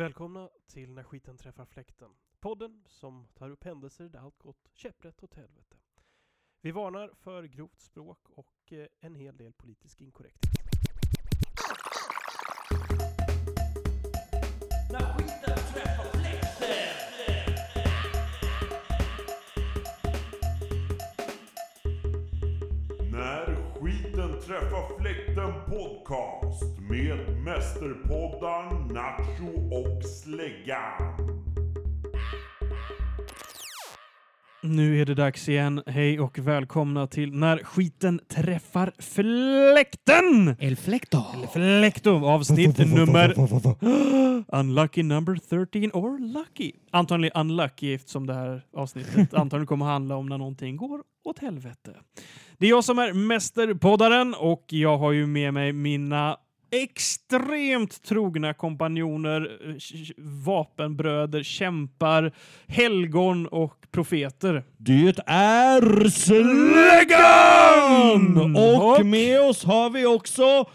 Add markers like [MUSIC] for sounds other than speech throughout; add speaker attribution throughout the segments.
Speaker 1: Välkomna till När skiten träffar fläkten. Podden som tar upp händelser där allt gått käpprätt åt helvete. Vi varnar för grovt språk och eh, en hel del politisk inkorrekthet.
Speaker 2: När skiten träffar fläkten podcast med mästerpoddar Nacho och Släggan.
Speaker 3: Nu är det dags igen. Hej och välkomna till När skiten träffar fläkten!
Speaker 4: El Flecto.
Speaker 3: Fläkto, avsnitt nummer... [GASPS] Unlucky number 13 or lucky. Antagligen unlucky eftersom det här
Speaker 4: [LAUGHS]
Speaker 3: avsnittet antagligen kommer handla om när någonting går åt helvete. Det är jag som är mästerpoddaren och jag har ju med mig mina extremt trogna kompanjoner, eh, sh- sh- vapenbröder, kämpar, helgon och profeter.
Speaker 4: Det är
Speaker 3: Mm,
Speaker 4: Släggan! Och,
Speaker 3: Och-
Speaker 4: med oss har vi
Speaker 5: [LAUGHS]
Speaker 4: också... Ja,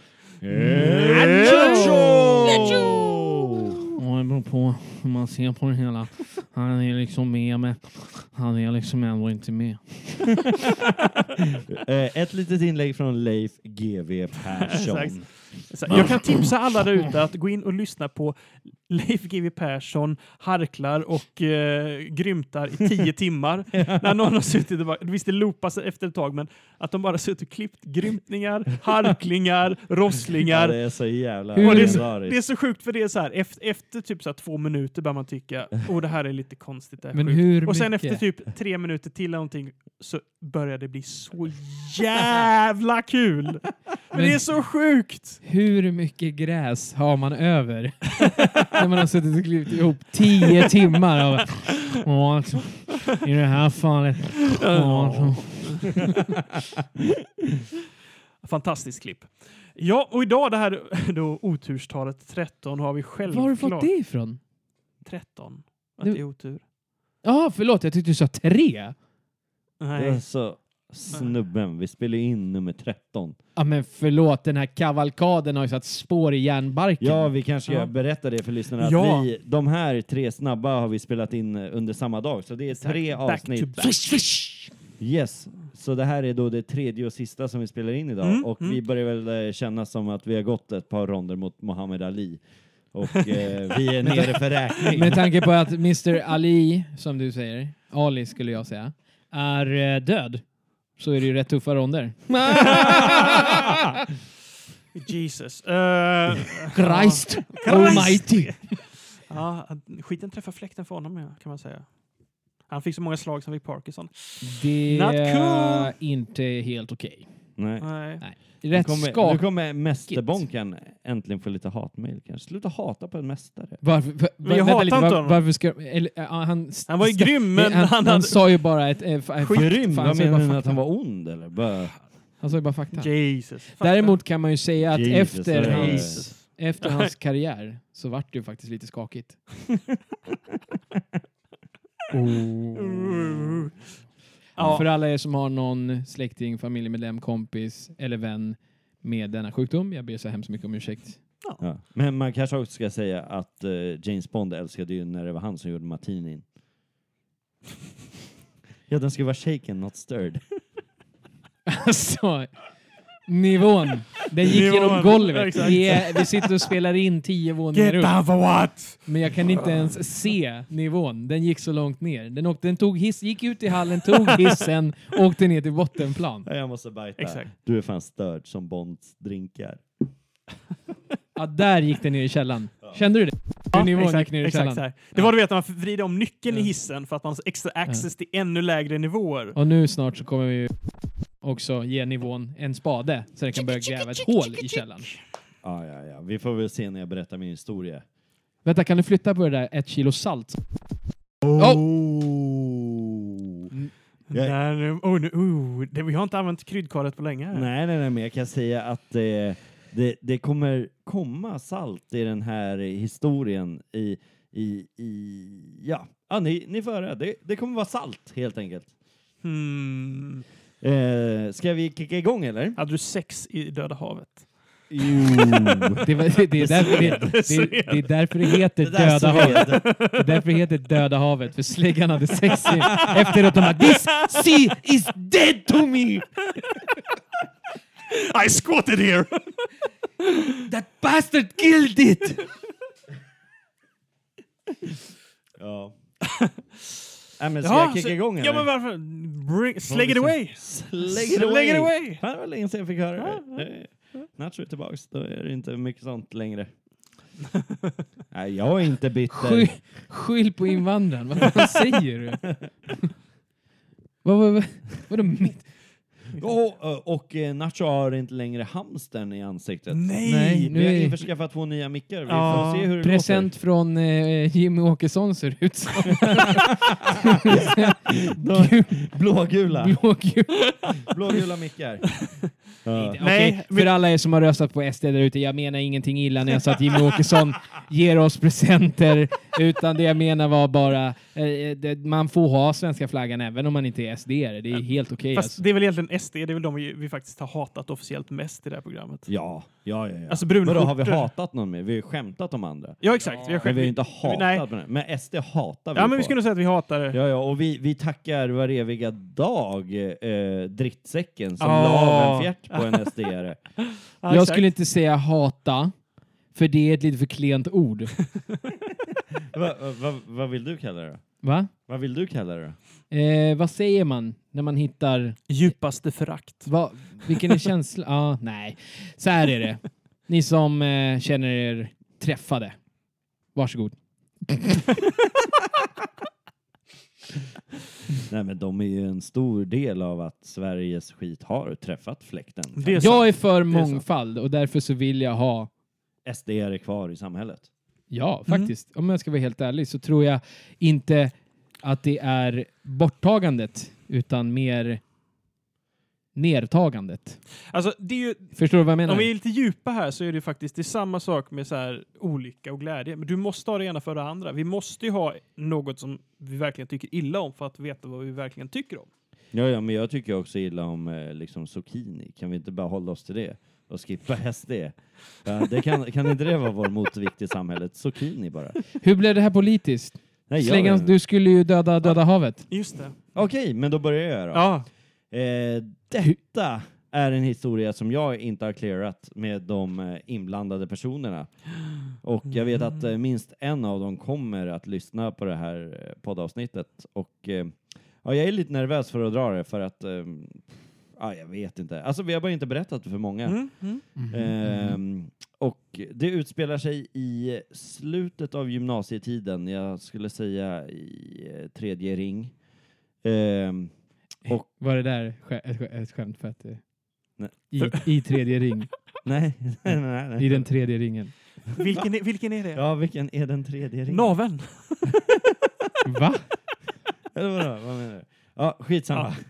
Speaker 4: det beror på hur man ser på det hela. Han är liksom med, men han är liksom ändå inte med.
Speaker 5: Eh, ett litet inlägg från Leif GW
Speaker 3: Exakt.
Speaker 5: [LAUGHS] Persson.
Speaker 3: Så här, Jag kan tipsa alla där ute att gå in och lyssna på Leif GW Persson harklar och eh, grymtar i tio timmar. När någon har suttit och bara, visst det loopas efter ett tag, men att de bara suttit och klippt grymtningar, harklingar,
Speaker 5: Ja,
Speaker 3: rosslingar.
Speaker 5: det är så jävla
Speaker 4: Hur-
Speaker 3: Och det, är så,
Speaker 5: rörigt.
Speaker 3: det är så sjukt för det är så här, efter, efter typ så här två minuter börjar man tycka, åh det här är lite konstigt, det här är
Speaker 4: Men
Speaker 3: sjukt."
Speaker 4: hur
Speaker 3: Och sen
Speaker 4: mycket?
Speaker 3: efter typ tre minuter till eller någonting så börjar det bli så jävla kul!
Speaker 6: [LAUGHS]
Speaker 3: Men, det är så sjukt!
Speaker 6: Hur mycket gräs har man över? När man har suttit och klippt ihop tio timmar av...
Speaker 4: Ja, liksom, i det här fallet... Ja, så-
Speaker 3: [LAUGHS] Fantastiskt klipp. Ja, och idag det här då oturstalet 13 har vi
Speaker 6: Var har du
Speaker 3: självklart.
Speaker 6: fått det ifrån?
Speaker 3: 13. Att
Speaker 6: Du-
Speaker 3: det är otur.
Speaker 6: Ja, förlåt. Jag tyckte du sa tre.
Speaker 5: Det är
Speaker 3: Nej.
Speaker 5: så snubben, vi spelar ju in nummer 13.
Speaker 6: Ja, men förlåt. Den här kavalkaden har ju satt spår i järnbarken.
Speaker 5: Ja, vi kanske
Speaker 3: Ja.
Speaker 5: ska berätta det för lyssnarna.
Speaker 3: Ja.
Speaker 5: Att vi, de här tre snabba har vi spelat in eh, under samma dag, så det är tre
Speaker 3: Back to
Speaker 5: avsnitt.
Speaker 3: back.
Speaker 5: Yes, så det här är då det tredje och sista som vi spelar in idag
Speaker 3: Mm,
Speaker 5: och vi börjar väl eh, känna som att vi har gått ett par ronder mot Muhammad Ali och eh, vi är nere för räkning.
Speaker 6: Med tanke på att Mr Ali, som du säger, Ali skulle jag säga, är eh, död så är det ju rätt tuffa
Speaker 4: [LAUGHS]
Speaker 6: ronder. [LAUGHS]
Speaker 3: Jesus. Eh,
Speaker 6: Christ almighty!
Speaker 3: Ja, han- skiten träffar fläkten för honom ja, kan man säga. Han fick så många slag som fick Parkinson.
Speaker 6: Det
Speaker 3: Not
Speaker 6: är
Speaker 3: cool.
Speaker 6: inte helt okej.
Speaker 5: Nej.
Speaker 3: Nej.
Speaker 5: Nu
Speaker 6: Rätt
Speaker 5: kommer, nu
Speaker 6: skak.
Speaker 5: kommer mästerbonkan äntligen få lite hatmejl kanske. Sluta hata på en mästare.
Speaker 6: Varför, var,
Speaker 3: jag hatar inte honom.
Speaker 6: Varför ska, eller, ja, han,
Speaker 3: Han var ju grym, men
Speaker 6: han,
Speaker 3: han
Speaker 6: han,
Speaker 3: hade-
Speaker 6: sa ju bara ett... eh, fa- eh,
Speaker 3: Skit,
Speaker 6: fakta.
Speaker 5: Grym!
Speaker 6: Han
Speaker 5: Vad
Speaker 6: sa ju
Speaker 5: menar
Speaker 6: bara
Speaker 5: du med att
Speaker 6: fakta.
Speaker 5: han var ond eller? Bara,
Speaker 6: Han sa ju bara fakta.
Speaker 3: Jesus. Fattar.
Speaker 6: Däremot kan man ju säga att
Speaker 5: Jesus,
Speaker 6: efter,
Speaker 5: det är-
Speaker 6: hans,
Speaker 3: Jesus.
Speaker 6: efter hans karriär så vart det ju faktiskt
Speaker 3: [LAUGHS]
Speaker 6: lite skakigt. Oh.
Speaker 3: Uh. Ja,
Speaker 6: För alla er som har någon släkting, familjemedlem, kompis eller vän med denna sjukdom, jag ber så hemskt mycket om ursäkt. [LAUGHS]
Speaker 5: ja. Men man kanske också ska säga att eh, James Bond älskade ju när det var han som gjorde martinin. ja, den ska vara shaken, not stirred. [LAUGHS]
Speaker 6: Alltså, nivån. Den gick
Speaker 3: Nivån,
Speaker 6: genom golvet.
Speaker 3: exakt.
Speaker 6: Vi, är, vi sitter och spelar in tio våningar upp.
Speaker 3: over what?
Speaker 6: Men jag kan inte ens se nivån. Den gick så långt ner. Den, åkte, den tog hiss, gick ut i hallen, tog hissen, åkte ner till bottenplan.
Speaker 5: Ja, Jag måste bajta.
Speaker 3: Exakt.
Speaker 5: Du är fan störd som Bonds drinkar.
Speaker 6: Ja, där gick den ner i källan. Kände du det?
Speaker 3: Ja,
Speaker 6: Hur nivån
Speaker 3: exakt,
Speaker 6: gick ner i
Speaker 3: exakt
Speaker 6: källan.
Speaker 3: så här. Det var du vet när man vrider om nyckeln i hissen för att man har extra access till ännu lägre nivåer.
Speaker 6: Och nu snart så kommer vi ju också ge nivån en spade så den kan börja gräva ett hål i källan.
Speaker 5: Ja, ja, ja. Vi får väl se när jag berättar min historia.
Speaker 6: Vänta, kan du flytta på det där ett kilo salt?
Speaker 5: Oh. Ja.
Speaker 3: Där, um, oh, nu, oh, det, vi har inte använt kryddkaret på länge. här.
Speaker 5: Nej, nej, nej, men jag kan säga att eh, det, det kommer komma salt i den här historien i, i, i ja, ah, ni, ni får höra. Det, det kommer vara salt helt enkelt.
Speaker 3: Hmm.
Speaker 5: Eh, ska vi kicka igång eller?
Speaker 3: Hade du sex i Döda havet?
Speaker 5: [LAUGHS] Jo.
Speaker 6: Det, var- det, är därför, det, det, det är därför det heter
Speaker 5: Det där
Speaker 6: Döda havet. Det är därför det heter Döda havet, för släggan hade sex i- efteråt. De bara This sea is dead to me!
Speaker 3: I squatted here!
Speaker 6: That bastard killed it!
Speaker 5: Ja. Nej, men ska
Speaker 3: Ja,
Speaker 5: jag kicka
Speaker 3: så-
Speaker 5: igång
Speaker 3: Ja, men varför? Bring, slägg it away!
Speaker 5: Slägg
Speaker 3: Slägg
Speaker 5: it
Speaker 3: it
Speaker 5: away!
Speaker 3: away!
Speaker 5: Fan, det var länge sedan jag fick höra det. Eh, Nacho är tillbaks, då är det inte mycket sånt längre. [LAUGHS] Nej, jag är inte
Speaker 6: Skyll,
Speaker 5: bitter.
Speaker 6: skyll på invandraren. Vad fan säger du? Vad, vad, vad, vadå mitt?
Speaker 5: Och, eh, och eh, Nacho har inte längre hamstern i ansiktet.
Speaker 3: Nej!
Speaker 6: Nej,
Speaker 5: Vi har
Speaker 6: Nu är-
Speaker 5: införskaffat två nya mickar. Vi
Speaker 3: Ja,
Speaker 5: får se hur det [LAUGHS]
Speaker 6: Present från eh, Jimmy Åkesson ser det ut som.
Speaker 3: [LAUGHS]
Speaker 5: låter. De- Blågula.
Speaker 6: Blågul.
Speaker 3: [LAUGHS]
Speaker 5: Blågula mickar. Ja.
Speaker 3: Nej,
Speaker 6: Okej, för alla er som har röstat på SD där ute, jag menar ingenting illa när jag sa att Jimmy Åkesson ger oss presenter, utan det jag menar var bara, eh, det, man får ha svenska flaggan även om man inte är SD. Det är helt okej.
Speaker 3: Fast
Speaker 6: alltså.
Speaker 3: det är väl egentligen SD, det är väl de vi, vi faktiskt har hatat officiellt mest i det här programmet.
Speaker 5: Ja, ja, ja. ja.
Speaker 3: Alltså brunskjortor.
Speaker 5: Vadå, har vi hatat någon mer? Vi har ju skämtat om andra.
Speaker 3: Ja, exakt. vi har
Speaker 5: Men
Speaker 3: själv...
Speaker 5: vi har ju inte hatat
Speaker 3: Nej.
Speaker 5: på den. Men SD hatar vi
Speaker 3: Ja, men
Speaker 5: på.
Speaker 3: vi skulle nog säga att vi hatar...
Speaker 5: Ja, ja, och vi, vi tackar var eviga dag eh, drittsäcken som
Speaker 3: Ja.
Speaker 5: la av en fjärt på en SD-are. [LAUGHS]
Speaker 3: Ja,
Speaker 6: jag
Speaker 3: exakt.
Speaker 6: skulle inte säga hata, för det är ett lite för klent ord.
Speaker 5: Vad va, va, vad vill du kalla det då?
Speaker 6: Va?
Speaker 5: Vad vill du kalla det då?
Speaker 6: Eh, vad säger man när man hittar...
Speaker 3: Djupaste förakt.
Speaker 6: Va, vilken är känslan? Ja, nej. Så här är det. Ni som eh, känner er träffade. Varsågod.
Speaker 5: Nej, men de är ju en stor del av att Sveriges skit har träffat fläkten.
Speaker 3: Det är
Speaker 6: Jag är för
Speaker 3: Det är sant.
Speaker 6: mångfald och därför så vill jag ha
Speaker 5: SD-are kvar i samhället.
Speaker 6: Ja,
Speaker 3: Mm.
Speaker 6: faktiskt. Om jag ska vara helt ärlig så tror jag inte att det är borttagandet utan mer nertagandet.
Speaker 3: Alltså, det är ju,
Speaker 6: Förstår du vad jag menar?
Speaker 3: om vi är lite djupa här så är det ju faktiskt det är samma sak med så här, olycka och glädje. Men du måste ha det ena för det andra. Vi måste ju ha något som vi verkligen tycker illa om för att veta vad vi verkligen tycker om.
Speaker 5: Ja, ja, men jag tycker också illa om eh, liksom zucchini. Kan vi inte bara hålla oss till det och skippa [LAUGHS] SD? Ja, det kan, kan inte det vara vår motvikt i samhället? Zucchini bara.
Speaker 6: Hur blev det här politiskt?
Speaker 5: Nej, jag vet
Speaker 6: Slängan,
Speaker 5: inte.
Speaker 6: du skulle ju döda, döda havet.
Speaker 3: Just det.
Speaker 5: Okej, men då börjar jag då.
Speaker 3: Ja.
Speaker 5: Eh, detta är en historia som jag inte har clearat med de eh, inblandade personerna. Och jag vet att
Speaker 6: Mm.
Speaker 5: eh, minst en av dem kommer att lyssna på det här eh, poddavsnittet. Och eh, ja, jag är lite nervös för att dra det för att eh, ja, jag vet inte. Alltså vi har bara inte berättat det för många.
Speaker 3: Mm, mm.
Speaker 5: Ehm, och det utspelar sig i slutet av gymnasietiden. Jag skulle säga i eh, tredje ring. Ehm,
Speaker 6: Var det där skä- ett skä- ett skämt för att det...
Speaker 5: Nej.
Speaker 6: I, I tredje
Speaker 5: [LAUGHS]
Speaker 6: ring.
Speaker 5: nej, nej, nej, nej.
Speaker 6: I den tredje ringen.
Speaker 3: Vilken, är, vilken är det?
Speaker 5: Ja, vilken är den tredje ringen?
Speaker 3: Naveln.
Speaker 6: [LAUGHS] Va?
Speaker 5: Eller vadå, vad menar du? Ja, skitsamma.
Speaker 3: Ja.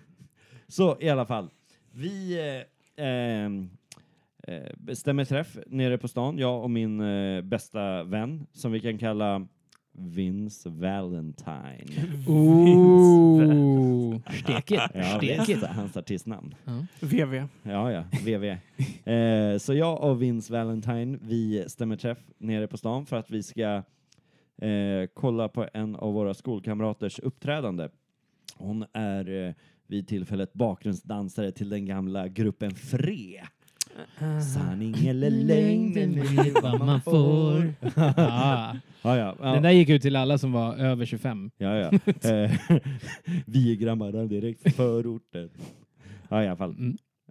Speaker 5: Så i alla fall. Vi eh, ehm, eh, bestämmer träff nere på stan, jag och min eh, bästa vän som vi kan kalla Vince Valentine.
Speaker 6: Ooh. Stekigt.
Speaker 5: Ja,
Speaker 6: Stekigt.
Speaker 5: visst, hans artistnamn.
Speaker 3: VV.
Speaker 5: Ja, ja, VV. eh, så jag och Vince Valentine, vi stämmer träff nere på stan för att vi ska eh, kolla på en av våra skolkamraters uppträdande. Hon är eh, vid tillfället bakgrundsdansare till den gamla gruppen Fre. Sanning eller lögn,
Speaker 6: Lögnen är Mm. vad man får. Ah.
Speaker 5: Ja, ja.
Speaker 6: Den
Speaker 5: ja,
Speaker 6: där gick ut till alla som var över 25.
Speaker 5: ja, ja. Eh, [LAUGHS] vi är grabbarna direkt från förorten. Ja, i alla fall.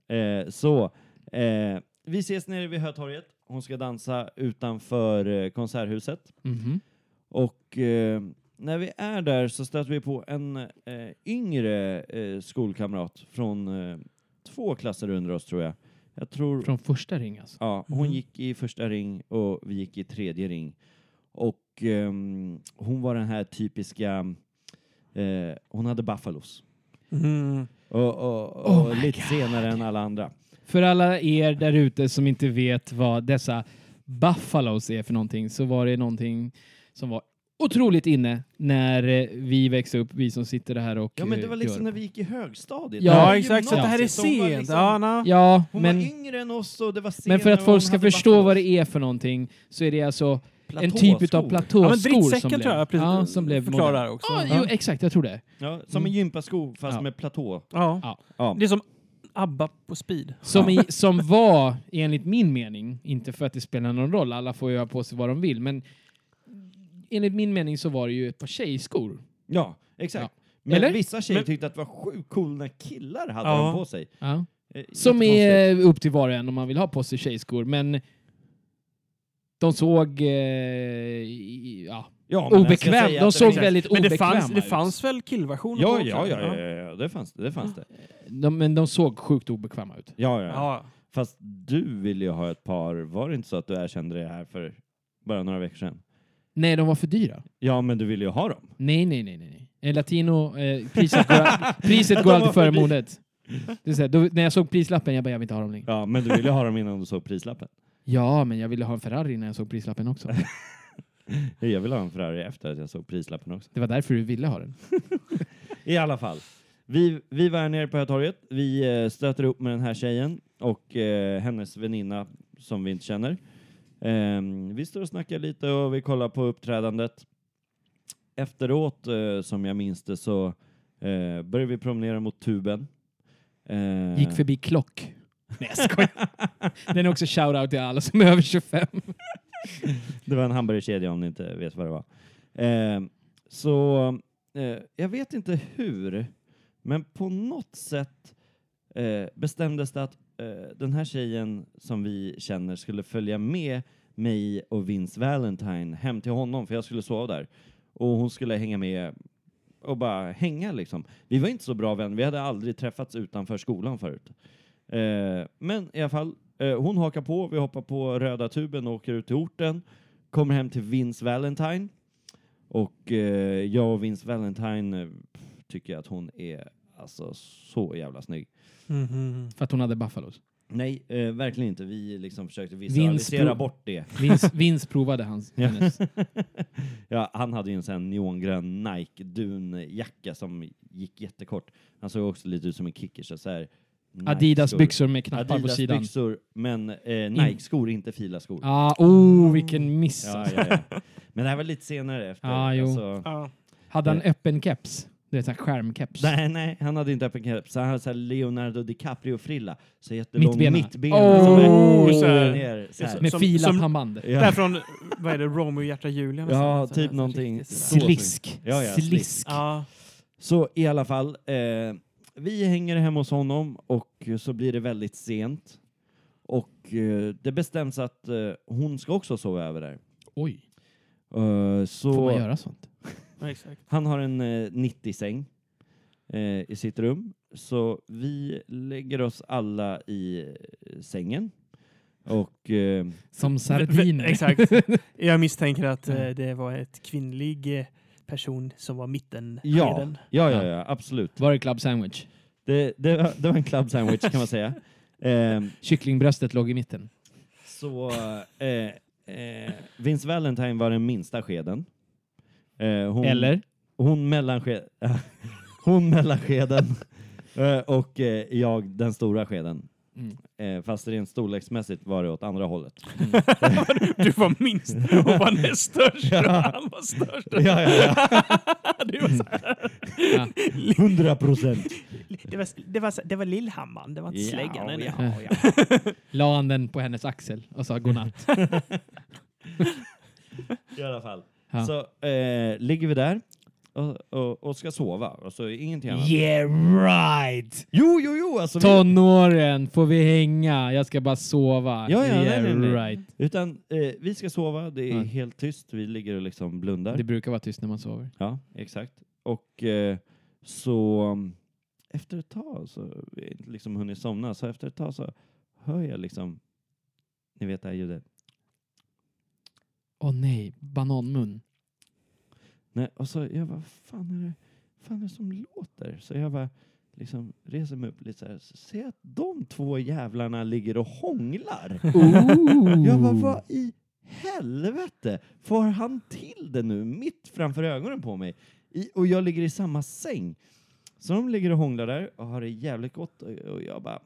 Speaker 6: Mm.
Speaker 5: Eh, så, eh, vi ses nere vid Hötorget. Hon ska dansa utanför eh, Konserthuset.
Speaker 6: Mhm.
Speaker 5: Och eh, när vi är där så stöter vi på en eh, yngre eh, skolkamrat från eh, två klasser under oss tror jag. Jag tror...
Speaker 6: Från första ring alltså.
Speaker 5: Ja, hon
Speaker 3: Mhm.
Speaker 5: gick i första ring och vi gick i tredje ring. Och ehm, hon var den här typiska... Eh, hon hade buffalos.
Speaker 3: Mm.
Speaker 5: Och, och, och
Speaker 6: Oh my
Speaker 5: lite senare än alla andra.
Speaker 6: För alla er där ute som inte vet vad dessa buffalos är för någonting så var det någonting som var otroligt inne när eh, vi växte upp, vi som sitter här och
Speaker 5: Ja men det
Speaker 6: eh,
Speaker 5: var
Speaker 6: gör-
Speaker 5: liksom när vi gick i högstadiet.
Speaker 6: Ja,
Speaker 5: Det var
Speaker 3: Ja, exakt. Så att det här är
Speaker 5: gymnasiet. De var
Speaker 3: sent.
Speaker 5: liksom-
Speaker 3: Ja, na.
Speaker 6: Ja,
Speaker 5: Hon
Speaker 6: men,
Speaker 5: var yngre än oss och det var senare
Speaker 6: men för att
Speaker 5: och
Speaker 6: folk
Speaker 5: hon
Speaker 6: ska
Speaker 5: hade
Speaker 6: förstå
Speaker 5: varit
Speaker 6: vad det är för någonting så är det alltså en typ
Speaker 5: platåskor.
Speaker 3: Ja,
Speaker 6: av
Speaker 3: men
Speaker 6: platåskor som
Speaker 3: drittsäcken
Speaker 6: blev,
Speaker 3: tror jag precis
Speaker 6: ja, som blev moderna.
Speaker 3: förklarar också.
Speaker 6: Ja,
Speaker 3: ja.
Speaker 6: jo, exakt, jag tror det.
Speaker 5: Ja, som en gympasko fast
Speaker 6: Mm. Ja.
Speaker 5: med platå.
Speaker 3: Ja.
Speaker 5: Ja.
Speaker 3: Det är som ABBA på speed.
Speaker 6: Som, i, som var, enligt min mening, inte för att det spelar någon roll, alla får ju ha på sig vad de vill, men enligt min mening så var det ju ett par tjejskor.
Speaker 5: Ja, exakt. Men
Speaker 6: Eller?
Speaker 5: vissa tjejer
Speaker 3: Men-
Speaker 5: tyckte att det var sjukt coolt när killar hade
Speaker 3: Ja.
Speaker 5: dem på sig.
Speaker 6: Ja.
Speaker 5: Eh,
Speaker 6: Som
Speaker 5: jättekonstigt.
Speaker 6: är upp till var och en om man vill ha på sig tjejskor, men de såg... Eh, i- ja,
Speaker 5: Ja, men jag ska
Speaker 6: obekväm.
Speaker 5: säga
Speaker 6: De
Speaker 5: att det
Speaker 6: såg
Speaker 5: finns-
Speaker 6: väldigt
Speaker 3: Men
Speaker 6: obekväma
Speaker 3: det fanns, det
Speaker 6: ut.
Speaker 3: fanns väl killversioner på
Speaker 5: Ja,
Speaker 3: också?
Speaker 5: ja, ja, ja, ja, ja, det fanns det. det, fanns det.
Speaker 6: De, men de såg sjukt obekväma ut.
Speaker 5: Ja, ja, ja.
Speaker 3: Ja.
Speaker 5: Fast du ville ju ha ett par, var det inte så att du erkände det här för bara några veckor sedan?
Speaker 6: Nej, de var för dyra.
Speaker 5: Ja, men du ville ju ha dem.
Speaker 6: Nej, nej, nej. nej, nej. Eh, Latino, eh, priset
Speaker 5: [LAUGHS]
Speaker 6: går, priset går
Speaker 5: De
Speaker 6: alltid
Speaker 5: var för
Speaker 6: före
Speaker 5: dyra.
Speaker 6: modet. Det är så här, då, när jag såg prislappen, jag bara, jag vill inte ha dem längre.
Speaker 5: Ja, men du ville ha dem innan du såg prislappen.
Speaker 6: Ja, men jag ville ha en Ferrari när jag såg prislappen också.
Speaker 5: Jag ville ha en Ferrari efter att jag såg prislappen också.
Speaker 6: Det var därför du ville ha den.
Speaker 5: I alla fall. Vi, vi var här nere på Hötorget. Vi eh, stöter upp med den här tjejen och eh, hennes väninna som vi inte känner. Ehm, vi står och snackar lite och vi kollar på uppträdandet. Efteråt, eh, som jag minns det, så eh, började vi promenera mot tuben. Eh,
Speaker 6: Gick förbi Klock. Nej, jag skojar. Den är också shout-out till alla som är över 25.
Speaker 5: [LAUGHS] Det var en hamburgerkedja om ni inte vet vad det var. Eh, så eh, jag vet inte hur, men på något sätt eh, bestämdes det att eh, den här tjejen som vi känner skulle följa med mig och Vince Valentine hem till honom, för jag skulle sova där. Och hon skulle hänga med och bara hänga liksom. Vi var inte så bra vänner, vi hade aldrig träffats utanför skolan förut. Eh, men i alla fall, eh, hon hakar på, vi hoppar på röda tuben och åker ut till orten. Kommer hem till Vince Valentine. Och eh, jag och Vince Valentine eh, tycker att hon är alltså så jävla snygg.
Speaker 3: Mhm.
Speaker 6: För att hon hade Buffalos.
Speaker 5: Nej, eh, verkligen inte. Vi liksom försökte
Speaker 6: Vince
Speaker 5: visualisera
Speaker 6: Bro-
Speaker 5: bort det.
Speaker 6: Vince, Vince provade hans. [LAUGHS]
Speaker 5: Ja. [LAUGHS]
Speaker 6: Hennes.
Speaker 5: ja, han hade ju en sån här neongrön Nike dunjacka som gick jättekort. Han såg också lite ut som en kickers. Så här,
Speaker 6: Adidas
Speaker 5: Nike-skor.
Speaker 6: byxor med knappar på
Speaker 5: Adidas
Speaker 6: sidan.
Speaker 5: byxor, men eh, Nike-skor, inte Fila-skor.
Speaker 6: Ah, oh, vilken miss.
Speaker 5: Ja,
Speaker 6: alltså.
Speaker 5: ja, ja. Men det här var lite senare efter.
Speaker 6: Ja, jo.
Speaker 5: alltså.
Speaker 3: Ja.
Speaker 6: Hade han öppen keps? Det är så här skärmkeps.
Speaker 5: Nej, nej, han hade inte öppen keps. Han hade så här Leonardo DiCaprio-frilla. Så jättelång
Speaker 6: Mittbena.
Speaker 5: mittbena.
Speaker 6: Åh,
Speaker 5: som är
Speaker 3: så här.
Speaker 5: ner. Så här.
Speaker 6: Med
Speaker 3: Som-
Speaker 6: filat
Speaker 3: som-
Speaker 6: pannband.
Speaker 5: Ja.
Speaker 3: Där från, vad är det, Romeo och Hjärta Julia? nästan.
Speaker 5: Ja,
Speaker 3: Alltså,
Speaker 5: typ
Speaker 3: nästan
Speaker 5: någonting.
Speaker 3: riktigt sådär.
Speaker 5: Slick.
Speaker 6: Slisk.
Speaker 5: Ja, ja, slisk.
Speaker 6: Slisk.
Speaker 3: Ja.
Speaker 5: Så i alla fall, eh, vi hänger hemma hos honom och så blir det väldigt sent. Och eh, det bestäms att eh, hon ska också sova över där.
Speaker 6: Oj,
Speaker 5: Eh, så
Speaker 6: får man göra sånt?
Speaker 3: ja, exakt.
Speaker 5: Han har en eh, 90-säng eh, i sitt rum. Så vi lägger oss alla i eh, sängen. Och eh,
Speaker 6: Som
Speaker 3: V-
Speaker 6: sardiner.
Speaker 3: v- Exakt. Jag misstänker att eh,
Speaker 5: Mm.
Speaker 3: det var ett kvinnlig eh, person som var mitten.
Speaker 5: ja,
Speaker 3: skeden.
Speaker 5: ja, ja, ja,
Speaker 6: [LAUGHS]
Speaker 5: absolut.
Speaker 6: Var det club sandwich?
Speaker 5: Det, det, var- det var en club sandwich kan man [LAUGHS] säga. Eh,
Speaker 6: Kycklingbröstet låg i mitten.
Speaker 5: så eh, eh, Vince Valentine var den minsta skeden. Eh, hon,
Speaker 6: Eller?
Speaker 5: Hon mellansked... [LAUGHS] hon mellanskeden. Eh, och eh, jag den stora skeden.
Speaker 6: Mm.
Speaker 5: Eh, fast rent storleksmässigt var det åt andra [LAUGHS] hållet.
Speaker 3: [LAUGHS] Du var minst och var
Speaker 5: [LAUGHS]
Speaker 3: näst störst.
Speaker 5: Ja.
Speaker 3: [LAUGHS] Han var störst.
Speaker 5: Ja, ja,
Speaker 3: [LAUGHS] Det var, så här.
Speaker 6: Ja.
Speaker 5: ja. 100 procent.
Speaker 3: [LAUGHS] det var, det var, så- det var Lillhammaren, det var inte
Speaker 5: Ja,
Speaker 3: släggan. eller?
Speaker 6: ja, La han den på hennes axel och sa godnatt.
Speaker 5: [LAUGHS] I alla fall.
Speaker 6: Ja.
Speaker 5: Så eh, ligger vi där och, och, och ska sova. Alltså ingenting annat.
Speaker 6: Yeah right!
Speaker 5: Jo, jo, jo! Alltså, vi,
Speaker 6: Tonåren, får vi hänga? Jag ska bara sova.
Speaker 5: Ja, ja,
Speaker 6: yeah
Speaker 5: nej, nej, nej.
Speaker 6: right.
Speaker 5: utan eh, vi ska sova, det är
Speaker 6: Ja.
Speaker 5: helt tyst. Vi ligger och liksom blundar.
Speaker 6: Det brukar vara tyst när man sover.
Speaker 5: Ja, exakt. Och eh, så um, efter ett tag så, vi har inte liksom hunnit somna, så efter ett tag så hör jag liksom, ni vet det här ljudet.
Speaker 6: Åh oh, nej, bananmun.
Speaker 5: Nej, och så jag bara, fan är det, fan är det som låter? Så jag bara liksom reser mig upp lite så här, så
Speaker 6: [LAUGHS]
Speaker 5: ser jag att de två jävlarna ligger och hånglar.
Speaker 6: Ooh.
Speaker 5: Jag bara, vad i helvete får han till det nu mitt framför ögonen på mig? I, och jag ligger i samma säng. Så de ligger och hånglar där och har det jävligt gott och, och jag bara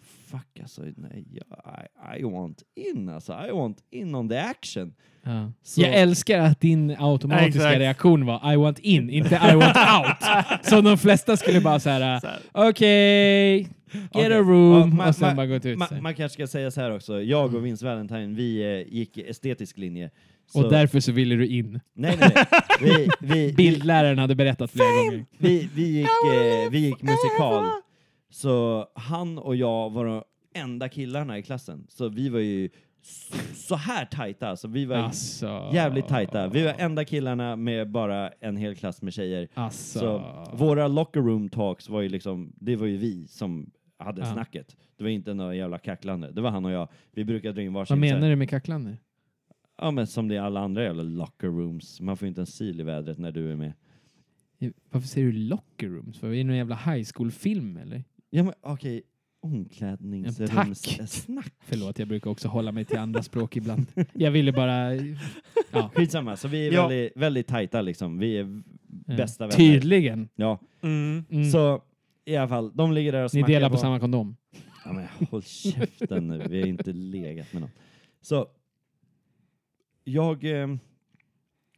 Speaker 5: fuck alltså, nej, jag, I, I want in alltså, I want in on the action.
Speaker 6: Ja.
Speaker 5: Så-
Speaker 6: Jag älskar att din automatiska
Speaker 3: Exakt.
Speaker 6: reaktion var I want in, inte I want
Speaker 5: [LAUGHS]
Speaker 6: out. Som de flesta skulle bara så här,
Speaker 3: Så här.
Speaker 6: okej, get
Speaker 5: Okej.
Speaker 6: a room
Speaker 5: Ja, ma-
Speaker 6: och sen
Speaker 5: ma-
Speaker 6: bara gått ut.
Speaker 5: Ma,
Speaker 6: så här.
Speaker 5: man kanske ska säga så här också, jag och Vince Valentine, vi eh, gick estetisk linje. Så,
Speaker 6: och därför så ville du in.
Speaker 5: Nej, nej, nej. Vi,
Speaker 6: [LAUGHS]
Speaker 5: vi, vi,
Speaker 6: Bildläraren hade berättat flera gånger.
Speaker 5: vi, vi, gick, eh, vi gick musikal. Så han och jag var de enda killarna i klassen. Så vi var ju s- så här tajta, så vi var
Speaker 6: Alltså.
Speaker 5: jävligt tajta. Vi var enda killarna med bara en hel klass med tjejer.
Speaker 6: Alltså.
Speaker 5: Så våra locker room talks var ju liksom, det var ju vi som hade
Speaker 6: Ja.
Speaker 5: snacket. Det var inte några jävla kacklande. Det var han och jag. Vi brukade dra in varsin.
Speaker 6: Vad
Speaker 5: så
Speaker 6: menar
Speaker 5: här-
Speaker 6: du med kacklande?
Speaker 5: Ja men som det är alla andra jävla locker rooms. Man får ju inte en sil i vädret när du är med.
Speaker 6: Varför säger du locker rooms? Var vi i någon jävla high school-film eller?
Speaker 5: Ja men okej,
Speaker 3: eh,
Speaker 6: Ja, tack.
Speaker 5: omklädningsrumssnack.
Speaker 6: Förlåt, jag brukar också hålla mig till andra språk
Speaker 5: [LAUGHS]
Speaker 6: ibland. Jag ville bara... Ja.
Speaker 5: Skitsamma, så vi
Speaker 3: [LAUGHS]
Speaker 5: är
Speaker 3: Ja.
Speaker 5: väldigt, väldigt tajta liksom. Vi är v- bästa vänner.
Speaker 6: eh, Tydligen.
Speaker 5: Ja,
Speaker 3: Mm.
Speaker 6: Mm.
Speaker 5: så i alla fall, de ligger där och
Speaker 6: Ni
Speaker 5: smackar
Speaker 6: delar på samma kondom.
Speaker 5: Ja, men håll käften nu, vi har inte legat med någon. Så, jag eh,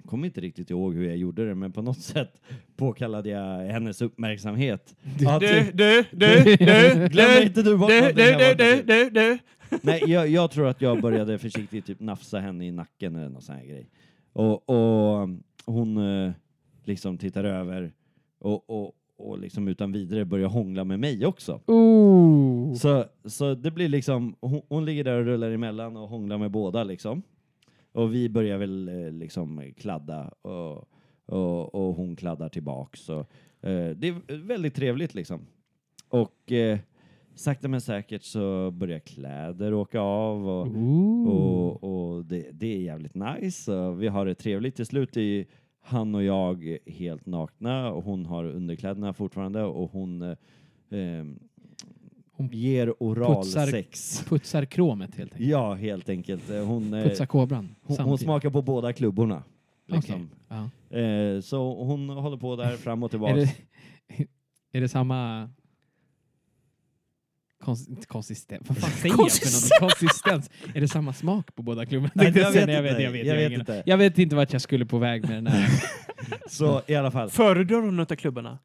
Speaker 5: kommer inte riktigt ihåg hur jag gjorde det, men på något sätt påkallade jag hennes uppmärksamhet. Ja,
Speaker 3: Du,
Speaker 5: typ.
Speaker 3: du,
Speaker 5: [LAUGHS]
Speaker 3: du, du,
Speaker 5: Glömmer
Speaker 3: du,
Speaker 5: inte du bort
Speaker 3: du,
Speaker 5: någonting
Speaker 3: du, du,
Speaker 5: här borta,
Speaker 3: du,
Speaker 5: typ.
Speaker 3: du, du.
Speaker 5: [LAUGHS] Nej, jag, jag tror att jag började försiktigt typ nafsa henne i nacken eller någon sån här grej. Och, och hon eh, liksom tittar över och, och, och liksom utan vidare börjar hångla med mig också.
Speaker 6: Oh.
Speaker 5: Så, så det blir liksom, hon, hon ligger där och rullar emellan och hånglar med båda liksom. Och vi börjar väl eh, liksom kladda och, och, och hon kladdar tillbaks. Så, eh, det är väldigt trevligt liksom. Och eh, sakta men säkert så börjar kläder åka av och,
Speaker 6: Ooh.
Speaker 5: och, och det, det är jävligt nice. Och vi har det trevligt. Till slut är ju han och jag helt nakna och hon har underkläderna fortfarande och hon eh, ehm,
Speaker 6: Hon
Speaker 5: ger oral
Speaker 6: putsar-
Speaker 5: sex.
Speaker 6: Putsar kromet helt enkelt.
Speaker 5: Ja, helt enkelt. Eh, Hon, eh,
Speaker 6: Putsar kobran
Speaker 5: hon, hon
Speaker 6: samtidigt.
Speaker 5: smakar på båda klubborna. Liksom.
Speaker 6: Okej. Ja.
Speaker 5: Eh, så hon håller på där fram och
Speaker 6: Är
Speaker 5: tillbaka.
Speaker 6: det, är det samma kons- konsistens? Vad fan säger jag för något? Konsistens? Är det samma smak på båda klubbarna?
Speaker 5: Nej,
Speaker 6: Tänkte
Speaker 5: jag
Speaker 6: säga,
Speaker 5: vet
Speaker 6: [LAUGHS] nej,
Speaker 5: inte.
Speaker 6: jag vet, jag
Speaker 5: Jag vet
Speaker 6: vet, jag
Speaker 5: inte.
Speaker 6: vet, jag vet inte vart jag skulle på väg med den
Speaker 5: [LAUGHS]
Speaker 6: här.
Speaker 5: Så i alla fall.
Speaker 3: Föredrar hon något av klubbarna?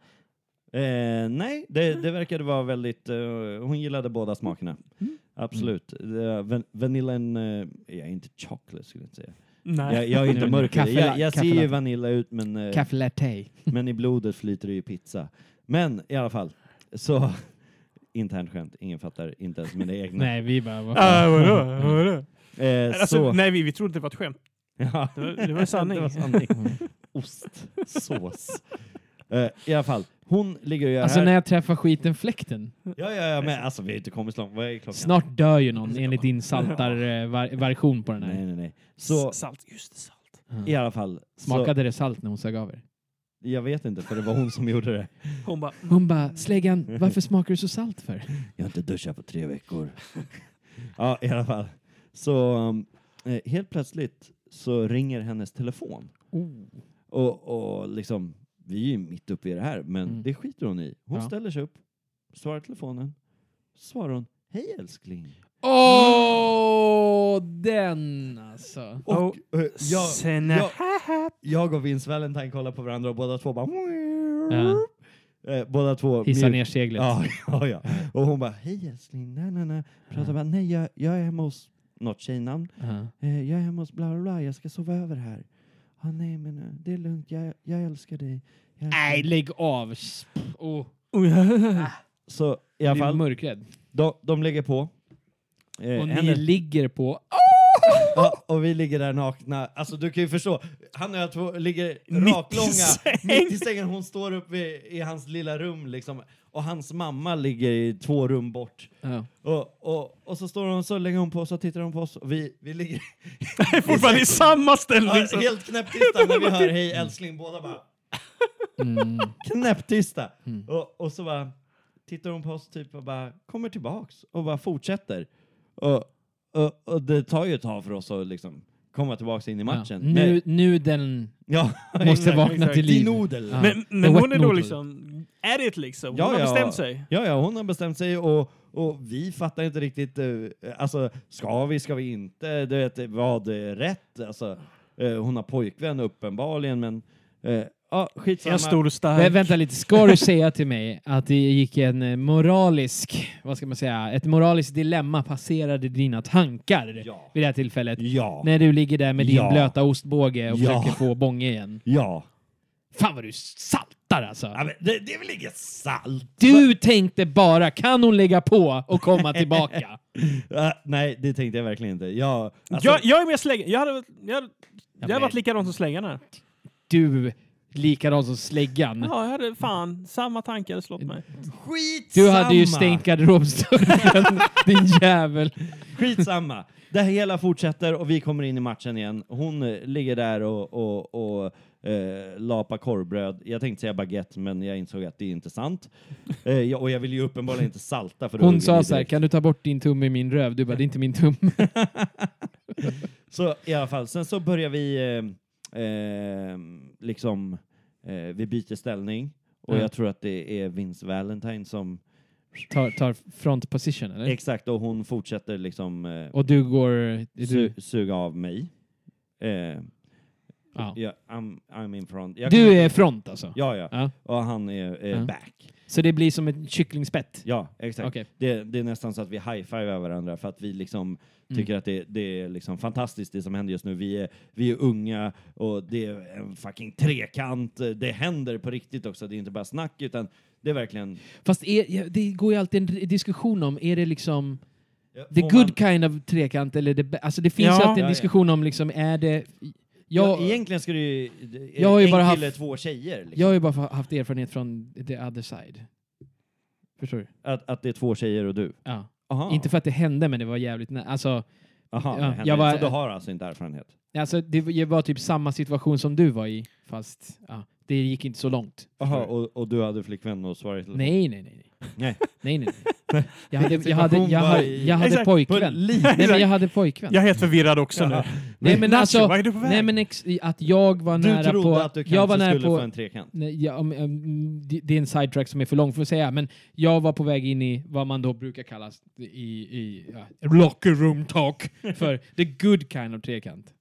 Speaker 5: Eh, nej, det,
Speaker 3: Mm.
Speaker 5: det verkade vara väldigt... Eh, hon gillade båda smakerna.
Speaker 3: Mm.
Speaker 5: Absolut. Det- van- Vanillen... Eh, jag är inte chocolate skulle jag inte säga. Jag,
Speaker 3: Nej.
Speaker 5: jag är inte
Speaker 6: Nej, men
Speaker 5: mörkare.
Speaker 6: kaffe-
Speaker 5: Jag, jag ser
Speaker 6: kaffe
Speaker 5: ju
Speaker 6: latte.
Speaker 5: vanilla ut men, eh,
Speaker 6: Café latte.
Speaker 5: men i blodet flyter det ju pizza. Men i alla fall. Så... [LAUGHS] Internt skämt. Ingen fattar. Inte ens mina egna.
Speaker 6: Nej, vi bara...
Speaker 5: Ah,
Speaker 6: Vad fan?
Speaker 3: Äh, vadå? vadå?
Speaker 5: Eh,
Speaker 3: Alltså,
Speaker 5: så.
Speaker 3: nej, vi, vi trodde det var ett skämt.
Speaker 5: [LAUGHS] Ja.
Speaker 3: Det var, det var sanning.
Speaker 5: [LAUGHS]
Speaker 3: Mm.
Speaker 5: Det var sanning. Ost. Sås. Eh, I alla fall. Hon ligger och gör
Speaker 6: Alltså
Speaker 5: här.
Speaker 6: när jag träffar skiten fläkten.
Speaker 5: Ja, ja, ja, men alltså vi har inte kommit så långt. Vad är klockan?
Speaker 6: Snart dör ju någon enligt din saltarversion på den
Speaker 5: Nej,
Speaker 6: här.
Speaker 5: nej, nej. Så
Speaker 3: S- Salt. Just det, salt.
Speaker 5: i alla fall.
Speaker 6: Smakade det salt när hon sög av er?
Speaker 5: Så, jag vet inte, för det var hon som [LAUGHS] gjorde det.
Speaker 3: Hon bara...
Speaker 6: Hon bara, släggan,
Speaker 5: [LAUGHS]
Speaker 6: varför smakar du så salt för?
Speaker 5: Jag har inte duschat på tre veckor. ja, i alla fall. Så um, eh, helt plötsligt så ringer hennes telefon. Oh! Och, och liksom, vi är ju mitt uppe i det här, men
Speaker 6: Mm.
Speaker 5: det skiter hon i. Hon
Speaker 6: Ja.
Speaker 5: ställer sig upp, svarar telefonen. Svarar hon, hej älskling.
Speaker 6: Åh, den alltså.
Speaker 5: Och
Speaker 3: Oh,
Speaker 5: eh, jag,
Speaker 3: Sen...
Speaker 5: jag, jag och Vince Valentine kollar på varandra och båda två bara...
Speaker 6: Ja.
Speaker 5: Eh, båda två...
Speaker 6: Hissa
Speaker 5: mjuk-
Speaker 6: ner seglet.
Speaker 5: Ja, [LAUGHS] ja, ja. Och hon bara, hej älskling, nej, nej, nej. Pratar bara, nej, jag, jag är hemma hos något tjejnamn.
Speaker 6: Ja.
Speaker 5: Eh, jag är hemma hos bla, bla, bla, jag ska sova över här. Ah, nej, men eh, det är lugnt, jag, jag älskar dig. Jag älskar
Speaker 6: Nej,
Speaker 5: dig."
Speaker 6: lägg av. Oh,
Speaker 5: Så i alla
Speaker 6: jag blir
Speaker 5: fall,
Speaker 6: mörkrädd.
Speaker 5: de, de lägger på. Eh,
Speaker 6: Och ni
Speaker 5: henne-
Speaker 6: ligger på...
Speaker 5: Ja, och vi ligger där nakna. Alltså du kan ju förstå, han och jag två ligger
Speaker 3: Mitt i
Speaker 5: raklånga
Speaker 3: säng.
Speaker 5: mitt i sängen. Hon står uppe i, i hans lilla rum liksom. Och hans mamma ligger i två rum bort.
Speaker 6: Ja.
Speaker 5: Och, och, och så står hon så lägger hon på oss och tittar hon på oss och vi, vi ligger
Speaker 3: Jag är [LAUGHS] fortfarande i samma ställning.
Speaker 5: ja,
Speaker 3: som-
Speaker 5: helt knäpptysta när vi hör hej älskling båda bara
Speaker 6: Mm.
Speaker 5: [LAUGHS] knäpptysta.
Speaker 6: Mm.
Speaker 5: Och, och så bara tittar hon på oss typ och bara kommer tillbaks och bara fortsätter. Och, och, och det tar ju ett tag för oss att liksom komma tillbaka in i matchen.
Speaker 6: Ja. Nu, nu den
Speaker 5: ja, [LAUGHS]
Speaker 6: måste
Speaker 5: exakt,
Speaker 6: vakna
Speaker 5: exakt.
Speaker 6: till liv.
Speaker 5: Din odel.
Speaker 6: Ja.
Speaker 3: Men,
Speaker 6: The
Speaker 3: men
Speaker 6: wet
Speaker 3: hon är då
Speaker 6: noodle.
Speaker 3: liksom it liksom. Hon
Speaker 5: Ja,
Speaker 3: har
Speaker 5: ja.
Speaker 3: bestämt sig.
Speaker 5: Ja, ja, hon har bestämt sig och, och vi fattar inte riktigt, eh, alltså ska vi, ska vi inte, du vet, vad är rätt? Alltså, eh, hon har pojkvän uppenbarligen, men eh, ja, skitsamma.
Speaker 3: En stor
Speaker 6: Vä-
Speaker 3: stark.
Speaker 6: vänta lite, ska du säga till mig att det gick en eh, moralisk, vad ska man säga, ett moraliskt dilemma passerade dina tankar
Speaker 5: Ja.
Speaker 6: vid det här tillfället?
Speaker 5: Ja,
Speaker 6: När du ligger där med din
Speaker 5: Ja.
Speaker 6: blöta ostbåge och
Speaker 5: Ja.
Speaker 6: försöker få bånge igen.
Speaker 5: ja.
Speaker 6: Fan vad du saltar alltså!
Speaker 5: ja men det, det är väl inget salt?
Speaker 6: Du tänkte bara, kan hon lägga på och komma
Speaker 5: [LAUGHS]
Speaker 6: tillbaka?
Speaker 5: Ja, Eh, nej, det tänkte jag verkligen inte. Jag, alltså,
Speaker 3: jag, jag är med släng. Jag hade, jag, hade, jag hade
Speaker 6: men-
Speaker 3: varit likadan som slängarna.
Speaker 6: Du, likadan som släggan.
Speaker 3: Ja, jag hade fan samma tanke hade slått mig.
Speaker 6: Du
Speaker 5: skitsamma!
Speaker 6: hade ju stängt
Speaker 5: [LAUGHS]
Speaker 6: garderobsdörren, din jävel.
Speaker 5: Skitsamma. Det hela fortsätter och vi kommer in i matchen igen. Hon eh, ligger där och, och, och eh, lapar korvbröd. Jag tänkte säga baguette, men jag insåg att det är inte sant. Eh, jag, och jag vill ju uppenbarligen inte salta. För då hugger
Speaker 6: Hon sa
Speaker 5: vi
Speaker 6: så här,
Speaker 5: direkt.
Speaker 6: kan du ta bort din tumme i min röv? Du bara, det är inte min tumme.
Speaker 5: Så i alla fall, sen så börjar vi eh, eh, liksom, eh, vi byter ställning. Och
Speaker 6: Mm.
Speaker 5: jag tror att det är Vince Valentine som,
Speaker 6: Tar, tar front position eller?
Speaker 5: exakt, och hon fortsätter liksom eh,
Speaker 6: och du går... är Du,
Speaker 5: su- suga av mig. Eh,
Speaker 6: ja.
Speaker 5: jag, I'm, I'm in front. Jag
Speaker 6: du
Speaker 5: kan-
Speaker 6: är front alltså?
Speaker 5: Ja, ja.
Speaker 6: Ja.
Speaker 5: Och han är eh,
Speaker 6: Ja.
Speaker 5: back.
Speaker 6: Så det blir som ett kycklingspett?
Speaker 5: Ja, exakt.
Speaker 6: Okej.
Speaker 5: Det, det är nästan så att vi high-fivar varandra för att vi liksom
Speaker 6: Mm.
Speaker 5: tycker att det, det är liksom fantastiskt det som händer just nu. Vi är, vi är unga och det är en fucking trekant. Det händer på riktigt också. Det är inte bara snack utan det är verkligen...
Speaker 6: Fast är, ja, det går ju alltid en r- diskussion om, är det liksom the
Speaker 5: Får
Speaker 6: good
Speaker 5: man-
Speaker 6: kind of trekant eller the ba- Alltså det finns
Speaker 3: Ja.
Speaker 6: alltid en
Speaker 5: Ja, ja.
Speaker 6: diskussion om liksom, är det...
Speaker 5: Ja,
Speaker 6: Jag,
Speaker 5: egentligen skulle det ju...
Speaker 6: Jag har ju
Speaker 5: en
Speaker 6: bara
Speaker 5: kille,
Speaker 6: haft-
Speaker 5: två tjejer. Liksom.
Speaker 6: jag har ju bara fa- haft erfarenhet från the other side. Förstår du?
Speaker 5: Att, att det är två tjejer och du.
Speaker 6: Ja.
Speaker 5: Aha.
Speaker 6: Inte för att det hände, men det var jävligt nära. Alltså,
Speaker 5: Aha,
Speaker 6: ja,
Speaker 5: det händer.
Speaker 6: jag var-
Speaker 5: Så du har alltså inte erfarenhet?
Speaker 6: alltså, det var typ samma situation som du var i, fast ja, det gick inte så långt.
Speaker 5: Aha,
Speaker 6: Förstår du?
Speaker 5: och, och du hade flickvän och svarade...
Speaker 6: Nej, nej, nej. [LAUGHS]
Speaker 5: Nej.
Speaker 6: Nej, nej,
Speaker 5: [LAUGHS]
Speaker 6: nej. Jag hade, jag
Speaker 5: Vilken
Speaker 6: hade,
Speaker 5: situation
Speaker 6: jag
Speaker 5: var
Speaker 6: hade,
Speaker 5: i-
Speaker 6: jag hade
Speaker 3: Exakt.
Speaker 6: pojkvän. Nej, men jag hade pojkvän.
Speaker 3: Jag är helt förvirrad också nu.
Speaker 6: Nej, men
Speaker 3: Nacho,
Speaker 6: alltså,
Speaker 3: vad är du på väg?
Speaker 6: nej, men ex, att jag var
Speaker 5: Du
Speaker 6: nära
Speaker 5: trodde
Speaker 6: på...
Speaker 5: att du kanske
Speaker 6: jag var nära
Speaker 5: skulle
Speaker 6: på,
Speaker 5: få en trekant?
Speaker 6: Nej, ja, om- om- det det är en sidetrack som är för lång för att säga, men jag var på väg in i vad man då brukar kalla i, i ja, locker room
Speaker 5: [LAUGHS]
Speaker 6: talk för the good kind of trekant.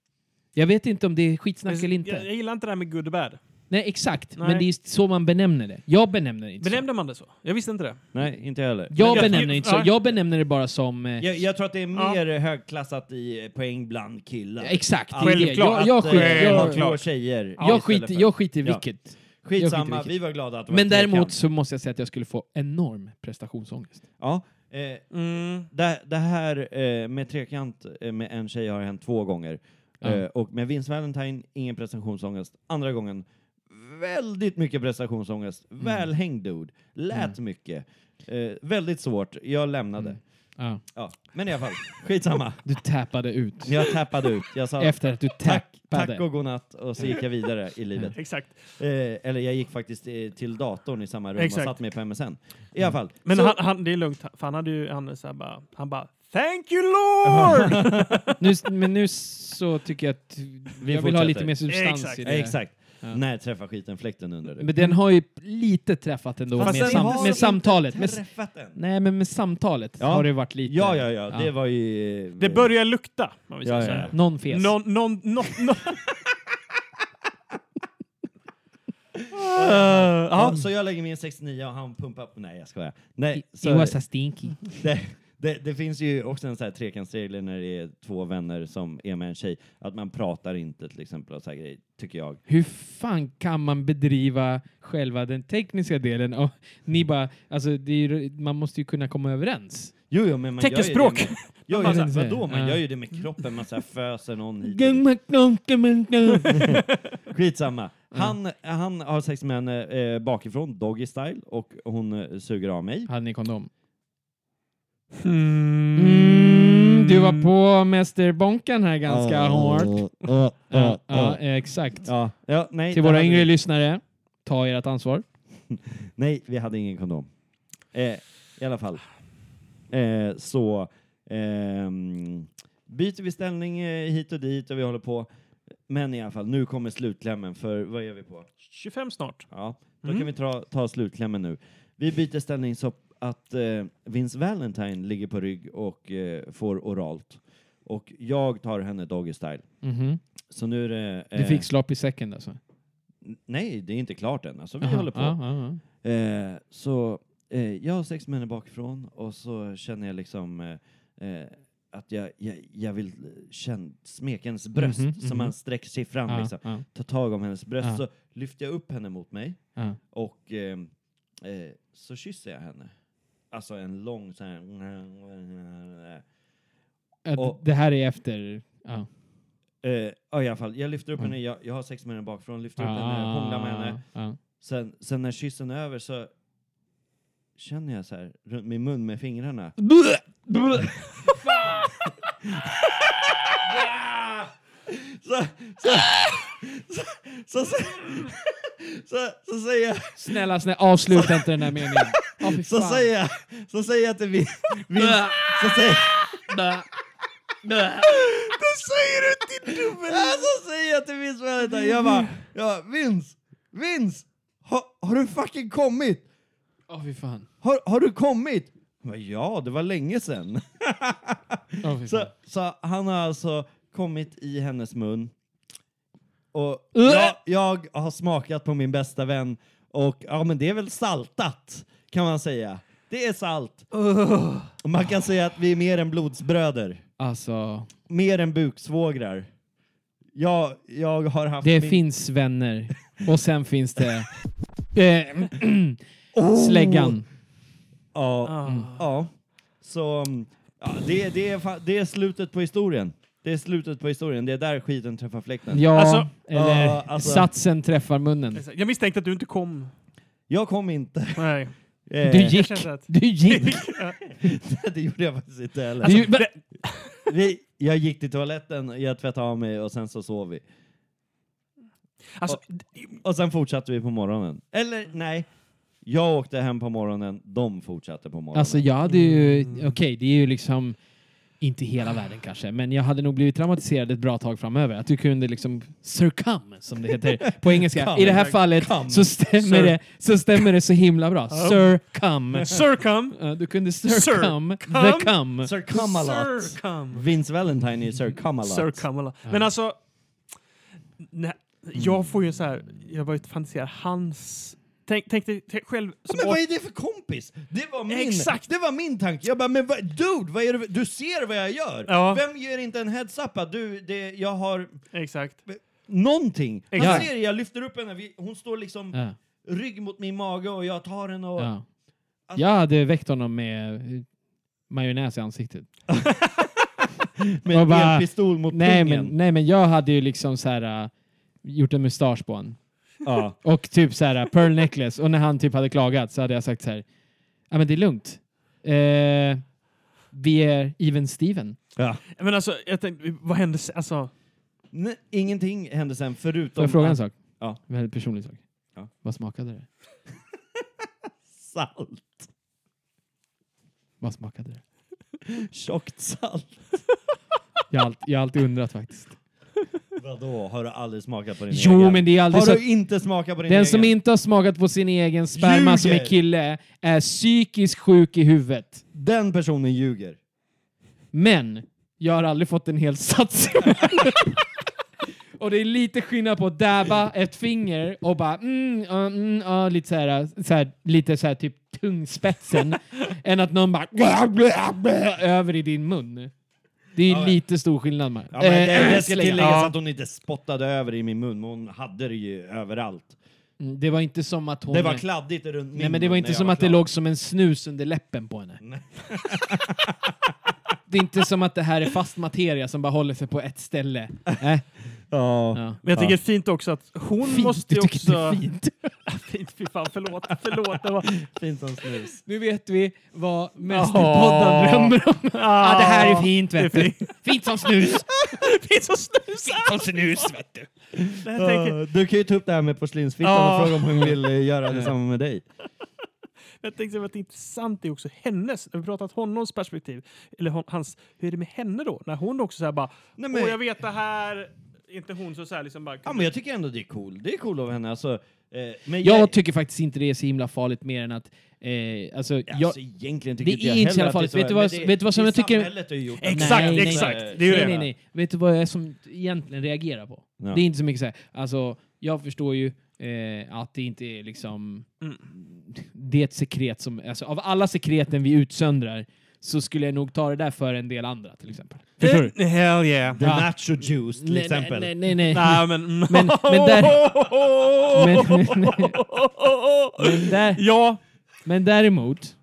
Speaker 6: Jag vet inte om det är skitsnack eller inte.
Speaker 3: Jag, jag gillar inte det här med good och bad.
Speaker 6: Nej, exakt.
Speaker 3: Nej.
Speaker 6: Men det är så man benämner det. Jag benämner det inte
Speaker 3: Benämnde man det så? Jag visste inte det.
Speaker 5: Nej, inte jag heller.
Speaker 6: så. Jag
Speaker 3: Men jag-
Speaker 6: benämner det inte så.
Speaker 3: ja.
Speaker 6: Jag benämner det bara som... eh,
Speaker 5: Jag, jag tror att det är
Speaker 3: Ja.
Speaker 5: mer högklassat i eh, poäng bland killar.
Speaker 6: Exakt. det är
Speaker 3: Självklart.
Speaker 6: det. Jag, jag,
Speaker 5: Att, eh,
Speaker 6: skiter, jag,
Speaker 5: två
Speaker 6: jag,
Speaker 5: tjejer.
Speaker 6: jag,
Speaker 5: istället
Speaker 6: skiter,
Speaker 5: för-
Speaker 6: jag skiter i
Speaker 5: Ja.
Speaker 6: vilket.
Speaker 5: Skitsamma,
Speaker 6: vilket.
Speaker 5: vi var glada att det var
Speaker 6: Men
Speaker 5: en
Speaker 6: däremot
Speaker 5: trekant.
Speaker 6: så måste jag säga att jag skulle få enorm prestationsångest.
Speaker 5: Ja, eh,
Speaker 3: Mm.
Speaker 5: det, det här eh, med trekant eh, med en tjej har hänt två gånger.
Speaker 6: Ja.
Speaker 5: Eh, och med Vince Valentine, ingen prestationsångest. Andra gången, väldigt mycket prestationsångest.
Speaker 6: Mm.
Speaker 5: Välhängd dude. Lät mycket. Eh, väldigt svårt. Jag lämnade.
Speaker 6: Mm. Ja.
Speaker 5: Ja. Men i alla fall, skitsamma.
Speaker 6: Du tappade ut.
Speaker 5: Jag tappade ut. Jag sa
Speaker 6: Efter att du
Speaker 5: tack,
Speaker 6: tappade.
Speaker 5: tack och godnatt och så gick jag vidare
Speaker 3: [LAUGHS]
Speaker 5: i livet.
Speaker 3: Exakt.
Speaker 5: Eh, eller jag gick faktiskt eh, till datorn i samma rum
Speaker 3: Exakt.
Speaker 5: och satt mig på MSN. I alla fall.
Speaker 3: Men
Speaker 5: så,
Speaker 3: han, han, det är lugnt, för han hade ju han så här bara, han bara Thank you
Speaker 6: [LAUGHS]
Speaker 3: Lord!
Speaker 6: [LAUGHS] nu, men nu så tycker jag att vi jag vill ha
Speaker 5: fortsätter.
Speaker 6: lite mer substans
Speaker 3: Exakt.
Speaker 6: i
Speaker 5: Eh,
Speaker 6: det.
Speaker 5: Exakt.
Speaker 6: Ja.
Speaker 5: När träffar skiten fläkten undrar du?
Speaker 6: Men den har ju lite träffat ändå
Speaker 3: Fast
Speaker 6: med,
Speaker 3: den
Speaker 6: sam
Speaker 3: har
Speaker 6: med
Speaker 5: inte
Speaker 6: samtalet. Med, s-
Speaker 5: träffat den?
Speaker 6: nej, men med samtalet
Speaker 5: Ja.
Speaker 6: har det varit lite...
Speaker 5: Ja, ja, ja. Det var ju... eh,
Speaker 3: det börjar lukta, om vi säger
Speaker 5: Ja, ja,
Speaker 3: så här.
Speaker 6: Någon fes.
Speaker 3: Någon, någon, någon, någon. Eh,
Speaker 5: Ja,
Speaker 3: ja.
Speaker 5: så jag lägger min 69 och han pumpar upp. Nej, jag skojar. Nej,
Speaker 6: It
Speaker 5: så,
Speaker 6: was a stinky.
Speaker 5: [LAUGHS] det, det, det finns ju också en sån här trekantsregel när det är två vänner som är med en tjej. Att man pratar inte till exempel och så här grejer, tycker jag.
Speaker 6: Hur fan kan man bedriva själva den tekniska delen? Och ni bara, alltså, det är, ju- man måste ju kunna komma överens.
Speaker 5: Jo, jo, men man
Speaker 3: Teckenspråk.
Speaker 6: [LAUGHS]
Speaker 5: gör ju det med... Jo,
Speaker 6: Man
Speaker 5: jo,
Speaker 6: bara-
Speaker 5: vadå? Man
Speaker 6: Ja.
Speaker 5: gör ju det med kroppen. Man så här föser någon hit och dit.
Speaker 6: Gungmaknunkumungkung.
Speaker 5: Skitsamma. Han, han har sex med henne eh, bakifrån, doggy style, och hon eh, suger av mig.
Speaker 6: Hade ni kondom?
Speaker 3: Mm.
Speaker 6: Mm, du var på mästerbonken här ganska hårt. Ja, ja, exakt.
Speaker 5: Ja, ja, nej,
Speaker 6: Till
Speaker 5: det
Speaker 6: våra
Speaker 5: hade
Speaker 6: yngre
Speaker 5: vi-
Speaker 6: lyssnare, ta ert ansvar.
Speaker 5: Nej, vi hade ingen kondom. Eh, I alla fall. Eh, så... ehm, byter vi ställning eh, hit och dit och vi håller på. Men i alla fall, nu kommer slutklämmen för vad är vi på?
Speaker 3: 25 snart.
Speaker 5: Ja, då
Speaker 3: Mm.
Speaker 5: kan vi ta, ta slutklämmen nu. Vi byter ställning så att eh, Vince Valentine ligger på rygg och eh, får oralt. Och jag tar henne doggy style.
Speaker 6: Mhm.
Speaker 5: Så nu är det... eh,
Speaker 6: Du fick slopp i second alltså?
Speaker 5: n- Nej, det är inte klart än. Alltså, vi
Speaker 6: Aha,
Speaker 5: håller på.
Speaker 6: ja, ja, ja.
Speaker 5: Eh, så eh, jag har sex med henne bakifrån och så känner jag liksom eh, eh, att jag, jag, jag vill känna smeka hennes bröst
Speaker 6: Mhm,
Speaker 5: så man
Speaker 6: mhm.
Speaker 5: sträcker sig fram.
Speaker 6: Ja,
Speaker 5: liksom.
Speaker 6: ja,
Speaker 5: Ta tag om hennes bröst
Speaker 6: Ja.
Speaker 5: så lyfter jag upp henne mot mig
Speaker 6: ja.
Speaker 5: och eh, eh, så kysser jag henne. Alltså en lång så här...
Speaker 6: Ja, d-
Speaker 5: Och-
Speaker 6: Det här är efter... Ja.
Speaker 5: Eh, ja, i alla fall, jag lyfter upp
Speaker 6: Mm. Ah.
Speaker 5: henne, jag, jag har sex med henne bakifrån, lyfter upp henne, hånglar eh, med henne.
Speaker 6: Ja, ja.
Speaker 5: Sen, sen när kyssen är över så känner jag så här runt min mun med fingrarna. så, så, så, så, så, så, så säger jag,
Speaker 6: Snälla, snälla, avsluta inte den här meningen. Ja, fy
Speaker 5: [LAUGHS] så
Speaker 6: fan.
Speaker 5: säger jag, så säger jag till Vin, Vin så säger Då säger du till dubbel... Ja, så säger jag till Vince Valentine, jag bara, ja, Vince, Vince, har, har du fucking kommit?
Speaker 6: Åh, fy fan.
Speaker 5: Har, har du kommit? Jag bara, Ja, det var länge sedan.
Speaker 6: Åh, fy
Speaker 5: Så,
Speaker 6: fan.
Speaker 5: så han har alltså kommit i hennes mun. Och
Speaker 6: Äh!
Speaker 5: jag, jag har smakat på min bästa vän och ja, men det är väl saltat kan man säga. Det är salt. Och man kan säga att vi är mer än blodsbröder,
Speaker 6: Alltså,
Speaker 5: mer än buksvågrar. Jag, jag har haft
Speaker 6: det
Speaker 5: min-
Speaker 6: finns vänner. Och sen finns det... Eh, [CLEARS THROAT]
Speaker 5: Oh!
Speaker 6: släggan.
Speaker 5: Ja,
Speaker 3: Ah.
Speaker 6: Mm.
Speaker 5: ja. Så mm, ja, det, det, är, fa- det är slutet på historien. Det är slutet på historien. Det är där skiten träffar fläkten.
Speaker 6: Ja,
Speaker 3: Alltså-
Speaker 6: eller
Speaker 5: Ja, alltså.
Speaker 6: satsen träffar munnen.
Speaker 3: Exakt. Jag misstänkte att du inte kom.
Speaker 5: Jag kom inte.
Speaker 3: Nej.
Speaker 5: Eh,
Speaker 6: Du gick.
Speaker 3: kände att-
Speaker 6: Du [LAUGHS] gick.
Speaker 3: Alltså,
Speaker 5: [LAUGHS] det gjorde jag faktiskt inte heller.
Speaker 6: Du, men-
Speaker 5: Vi, jag gick till toaletten, jag tvättade av mig och sen så sov vi.
Speaker 3: Alltså,
Speaker 5: Och sen fortsatte vi på morgonen. Eller nej, jag åkte hem på morgonen, de fortsatte på morgonen.
Speaker 6: Alltså jag hade ju, okej det är ju liksom inte hela världen kanske, men jag hade nog blivit traumatiserad ett bra tag framöver. Att du kunde liksom surcum, som det heter på engelska. I det här fallet så stämmer,
Speaker 3: Sir.
Speaker 6: det, så stämmer det så himla bra.
Speaker 3: [LAUGHS]
Speaker 6: Surcum.
Speaker 3: Circum.
Speaker 6: Ja, Du kunde surcum,
Speaker 3: Surcum.
Speaker 6: the cum.
Speaker 5: Sir Camelot.
Speaker 3: Circum.
Speaker 5: Vince Valentine är Sir Camelot.
Speaker 3: Sir Kamala. Men alltså, nej, jag får ju så här, jag bara fantiserar hans... Tänk, tänk dig tänk själv som...
Speaker 5: men vad är det för kompis? Det var min,
Speaker 3: Exakt.
Speaker 5: Det var min tanke. Jag bara, men vad, dude, vad är det, du ser vad jag gör.
Speaker 3: Ja.
Speaker 5: Vem ger inte en heads up att du, det, jag har
Speaker 3: Exakt.
Speaker 5: någonting. Han
Speaker 6: Exakt.
Speaker 5: ser det, jag lyfter upp henne, vi, hon står liksom
Speaker 6: Ja,
Speaker 5: rygg mot min mage och jag tar henne och...
Speaker 6: ja. Jag hade väckt honom med eh, majonnäs i ansiktet.
Speaker 5: Med
Speaker 6: Och bara-
Speaker 5: en pistol mot
Speaker 6: Nej men,
Speaker 5: pungen. [LAUGHS]
Speaker 6: nej men jag hade ju liksom så här eh, gjort en mustasch på honom.
Speaker 5: Ja.
Speaker 6: Och typ så här, pearl necklace. Och när han typ hade klagat så hade jag sagt så här, ja men det är lugnt. Eh, vi är even Steven.
Speaker 5: Ja.
Speaker 3: Men alltså, jag tänkte, vad hände sen? Alltså,
Speaker 5: Nej, ingenting hände sen
Speaker 6: Får
Speaker 5: förutom
Speaker 6: jag fråga en
Speaker 5: att
Speaker 6: sak?
Speaker 5: Ja.
Speaker 6: Väldigt personlig sak.
Speaker 5: Ja.
Speaker 6: Vad smakade det?
Speaker 5: salt,
Speaker 6: Vad smakade det?
Speaker 5: tjockt salt.
Speaker 6: Jag har, allt, jag har alltid undrat faktiskt.
Speaker 5: Vadå, har du aldrig smakat på din
Speaker 6: Jo
Speaker 5: egen?
Speaker 6: men det är aldrig
Speaker 5: har
Speaker 6: så.
Speaker 5: du inte smakat på din
Speaker 6: Den
Speaker 5: egen?
Speaker 6: som inte har smakat på sin egen sperma som är
Speaker 5: Ljuger!
Speaker 6: kille är psykiskt sjuk i huvudet.
Speaker 5: Den personen ljuger.
Speaker 6: Men jag har aldrig fått en hel sats i munnen. Och det är lite skillnad på att dabba ett finger och bara mm, ja, mm, ja, lite så här, så här, lite så här typ tungspetsen, än att någon bara över i din mun. Det är
Speaker 5: men-
Speaker 6: lite stor skillnad. Mark.
Speaker 5: Ja, men
Speaker 6: Eh,
Speaker 5: det, det ska
Speaker 6: slägga.
Speaker 5: tilläggas
Speaker 3: Ja.
Speaker 5: att hon inte spottade över i min mun, men hon hade det ju överallt.
Speaker 6: Mm, det var inte som att hon...
Speaker 5: Det var kladdigt runt min
Speaker 6: Nej, men det
Speaker 5: mun
Speaker 6: var
Speaker 5: när
Speaker 6: inte
Speaker 5: jag
Speaker 6: som att det
Speaker 5: klar.
Speaker 6: låg som en snus under läppen på henne.
Speaker 5: Nej.
Speaker 6: [LAUGHS] det är inte som att det här är fast materia som bara håller sig på ett
Speaker 5: [LAUGHS]
Speaker 6: ställe. Äh,
Speaker 5: Ja.
Speaker 6: ja.
Speaker 3: men jag tycker det är fint också att hon
Speaker 6: Fint,
Speaker 3: måste ju
Speaker 6: du tycker
Speaker 3: också...
Speaker 6: det är fint.
Speaker 3: fint, [LAUGHS] fy fan, förlåt, förlåt. Det var,
Speaker 5: Fint som [LAUGHS] snus.
Speaker 6: Nu vet vi vad Mästerpodden drömmer om. [LAUGHS] Ja, det här är fint,
Speaker 3: Ah.
Speaker 6: vet
Speaker 3: Det är
Speaker 6: du.
Speaker 3: [LAUGHS]
Speaker 6: Fint som snus.
Speaker 3: fint som snus!
Speaker 6: Som snus, vet du.
Speaker 3: Jag tänker,
Speaker 5: Eh, Ja, du kan ju ta upp det här med porslinsfittan
Speaker 3: Ja.
Speaker 6: [LAUGHS]
Speaker 5: och fråga om hon vill eh, göra detsamma med dig.
Speaker 3: [LAUGHS] Jag tänkte att det intressant är också hennes, när vi pratat honoms perspektiv, eller hon, hans, hur är det med henne då? När hon också så här bara,
Speaker 5: Nej,
Speaker 3: åh jag vet det här, inte hon så, så här liksom bara,
Speaker 5: Ja, men jag tycker ändå det är cool. Det är cool av henne. Alltså, eh, men jag,
Speaker 6: Jag tycker faktiskt inte det är så himla farligt mer än att... Eh, alltså, jag,
Speaker 5: alltså, egentligen
Speaker 6: det
Speaker 5: tycker
Speaker 6: är
Speaker 5: inte jag
Speaker 6: inte så
Speaker 5: heller
Speaker 6: jävla
Speaker 5: att
Speaker 6: farligt.
Speaker 5: det är så
Speaker 6: Vet
Speaker 5: här,
Speaker 6: du vad-
Speaker 5: men det-
Speaker 6: vet du vad som
Speaker 5: det är
Speaker 6: jag tycker-
Speaker 5: samhället har ju gjort
Speaker 3: Exakt,
Speaker 5: det.
Speaker 6: nej,
Speaker 3: exakt.
Speaker 5: nej.
Speaker 3: Det är ju
Speaker 6: nej,
Speaker 3: det.
Speaker 6: nej, nej. Vet du vad jag som egentligen reagerar på?
Speaker 5: Ja.
Speaker 6: Det är inte så mycket så här, alltså, jag förstår ju eh, att det inte är liksom... Det är ett sekret som, alltså av alla sekreten vi utsöndrar så skulle jag nog ta det där för en del andra till exempel. Förstår du?
Speaker 3: Eh, Hell yeah.
Speaker 5: The
Speaker 6: Ja.
Speaker 5: Nacho Juice till
Speaker 6: Nej,
Speaker 5: exempel.
Speaker 6: Nej, nej, nej. nej.
Speaker 3: Nej, men...
Speaker 6: [LAUGHS] Men- men
Speaker 3: [LAUGHS]
Speaker 6: Men- [LAUGHS] Men där,
Speaker 3: ja,
Speaker 6: Men däremot,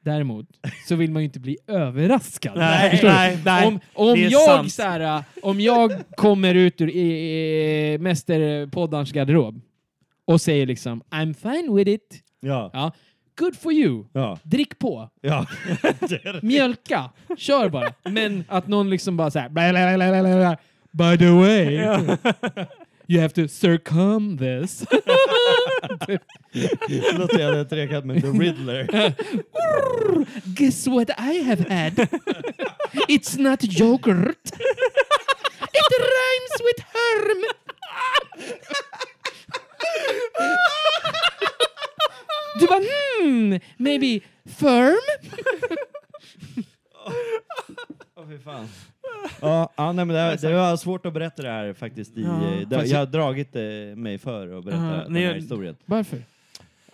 Speaker 6: däremot så vill man ju inte bli överraskad.
Speaker 3: Nej,
Speaker 6: Förstår du?
Speaker 3: nej, nej.
Speaker 6: om, om,
Speaker 3: Det är
Speaker 6: jag,
Speaker 3: sant.
Speaker 6: så här, äh, om jag kommer ut ur eh, Mästerpoddarns garderob och säger liksom I'm fine with it,
Speaker 5: Ja.
Speaker 6: ja, good for you,
Speaker 5: Ja.
Speaker 6: drick på,
Speaker 5: Ja. [LAUGHS] Det är det.
Speaker 6: mjölka, kör bara. Men att någon liksom bara så här, bla, bla, bla, bla, bla, bla. By the way, you have to circum this.
Speaker 5: Det låter jävla trekant med
Speaker 6: [LAUGHS]
Speaker 5: The Riddler.
Speaker 6: Guess what I have had? It's not yogurt. It rhymes with herm. Du bara hmm, maybe firm?
Speaker 5: Åh, fy fan. Ja, ja, nej, men det, det var svårt att berätta det här faktiskt. I,
Speaker 3: Ja.
Speaker 5: eh, det, jag har dragit eh, mig för att berätta
Speaker 3: Ja,
Speaker 5: den
Speaker 3: nej,
Speaker 5: här
Speaker 3: jag-
Speaker 5: historien.
Speaker 6: Varför?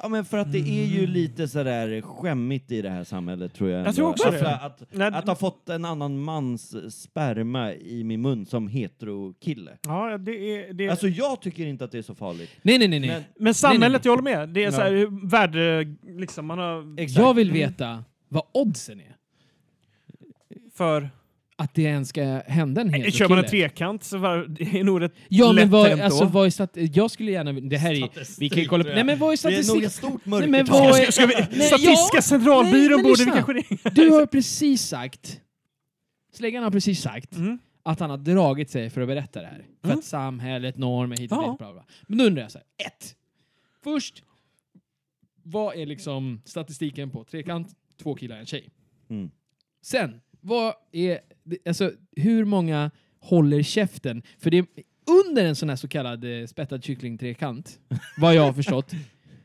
Speaker 5: Ja, men för att det är
Speaker 6: Mm.
Speaker 5: ju lite sådär skämmigt i det här samhället tror jag.
Speaker 3: Jag
Speaker 5: ändå.
Speaker 3: tror också
Speaker 5: att,
Speaker 3: det.
Speaker 5: Att,
Speaker 3: Nej,
Speaker 5: att ha fått en annan mans sperma i min mun som heterokille.
Speaker 3: ja, det är... Det är
Speaker 5: Alltså jag tycker inte att det är så farligt.
Speaker 6: Nej, nej, nej. nej.
Speaker 5: Men
Speaker 3: men
Speaker 6: nej, nej.
Speaker 3: samhället, jag håller med. Det är
Speaker 5: Ja.
Speaker 3: så här, hur värde... Liksom, man har...
Speaker 5: exakt.
Speaker 6: Jag vill veta vad oddsen är.
Speaker 3: För...
Speaker 6: Att det ens ska hända en hel
Speaker 3: Kör man en trekant så var, [LAUGHS] det är nog rätt
Speaker 6: Ja,
Speaker 3: lätt
Speaker 6: men vad,
Speaker 3: hänt
Speaker 6: alltså,
Speaker 3: då.
Speaker 6: vad är stat- Jag skulle gärna... Det här är... Vi kan ju kolla på... Nej, men vad är
Speaker 5: Det är nog
Speaker 6: statistik?
Speaker 5: ett stort
Speaker 6: Nej,
Speaker 5: mörkertal.
Speaker 6: men vad är-
Speaker 3: Ska vi,
Speaker 6: Nej,
Speaker 3: Statistiska
Speaker 6: ja. Nej,
Speaker 3: centralbyrån
Speaker 6: men
Speaker 3: borde vi
Speaker 6: lyssna.
Speaker 3: kanske [LAUGHS] ringa.
Speaker 6: Du har precis sagt, släggan har precis sagt,
Speaker 3: Mm.
Speaker 6: att han har dragit sig för att berätta det här. För att samhället, normer, hit och
Speaker 3: Ja.
Speaker 6: dit, bla bla. Men då undrar jag så här, ett. Först, vad är liksom statistiken på trekant, två killar, en tjej?
Speaker 5: Mm.
Speaker 6: Sen, vad är, alltså hur många håller käften? För det är under en sån här så kallad eh, spettad kyckling-trekant, vad jag
Speaker 3: [LAUGHS]
Speaker 6: har förstått,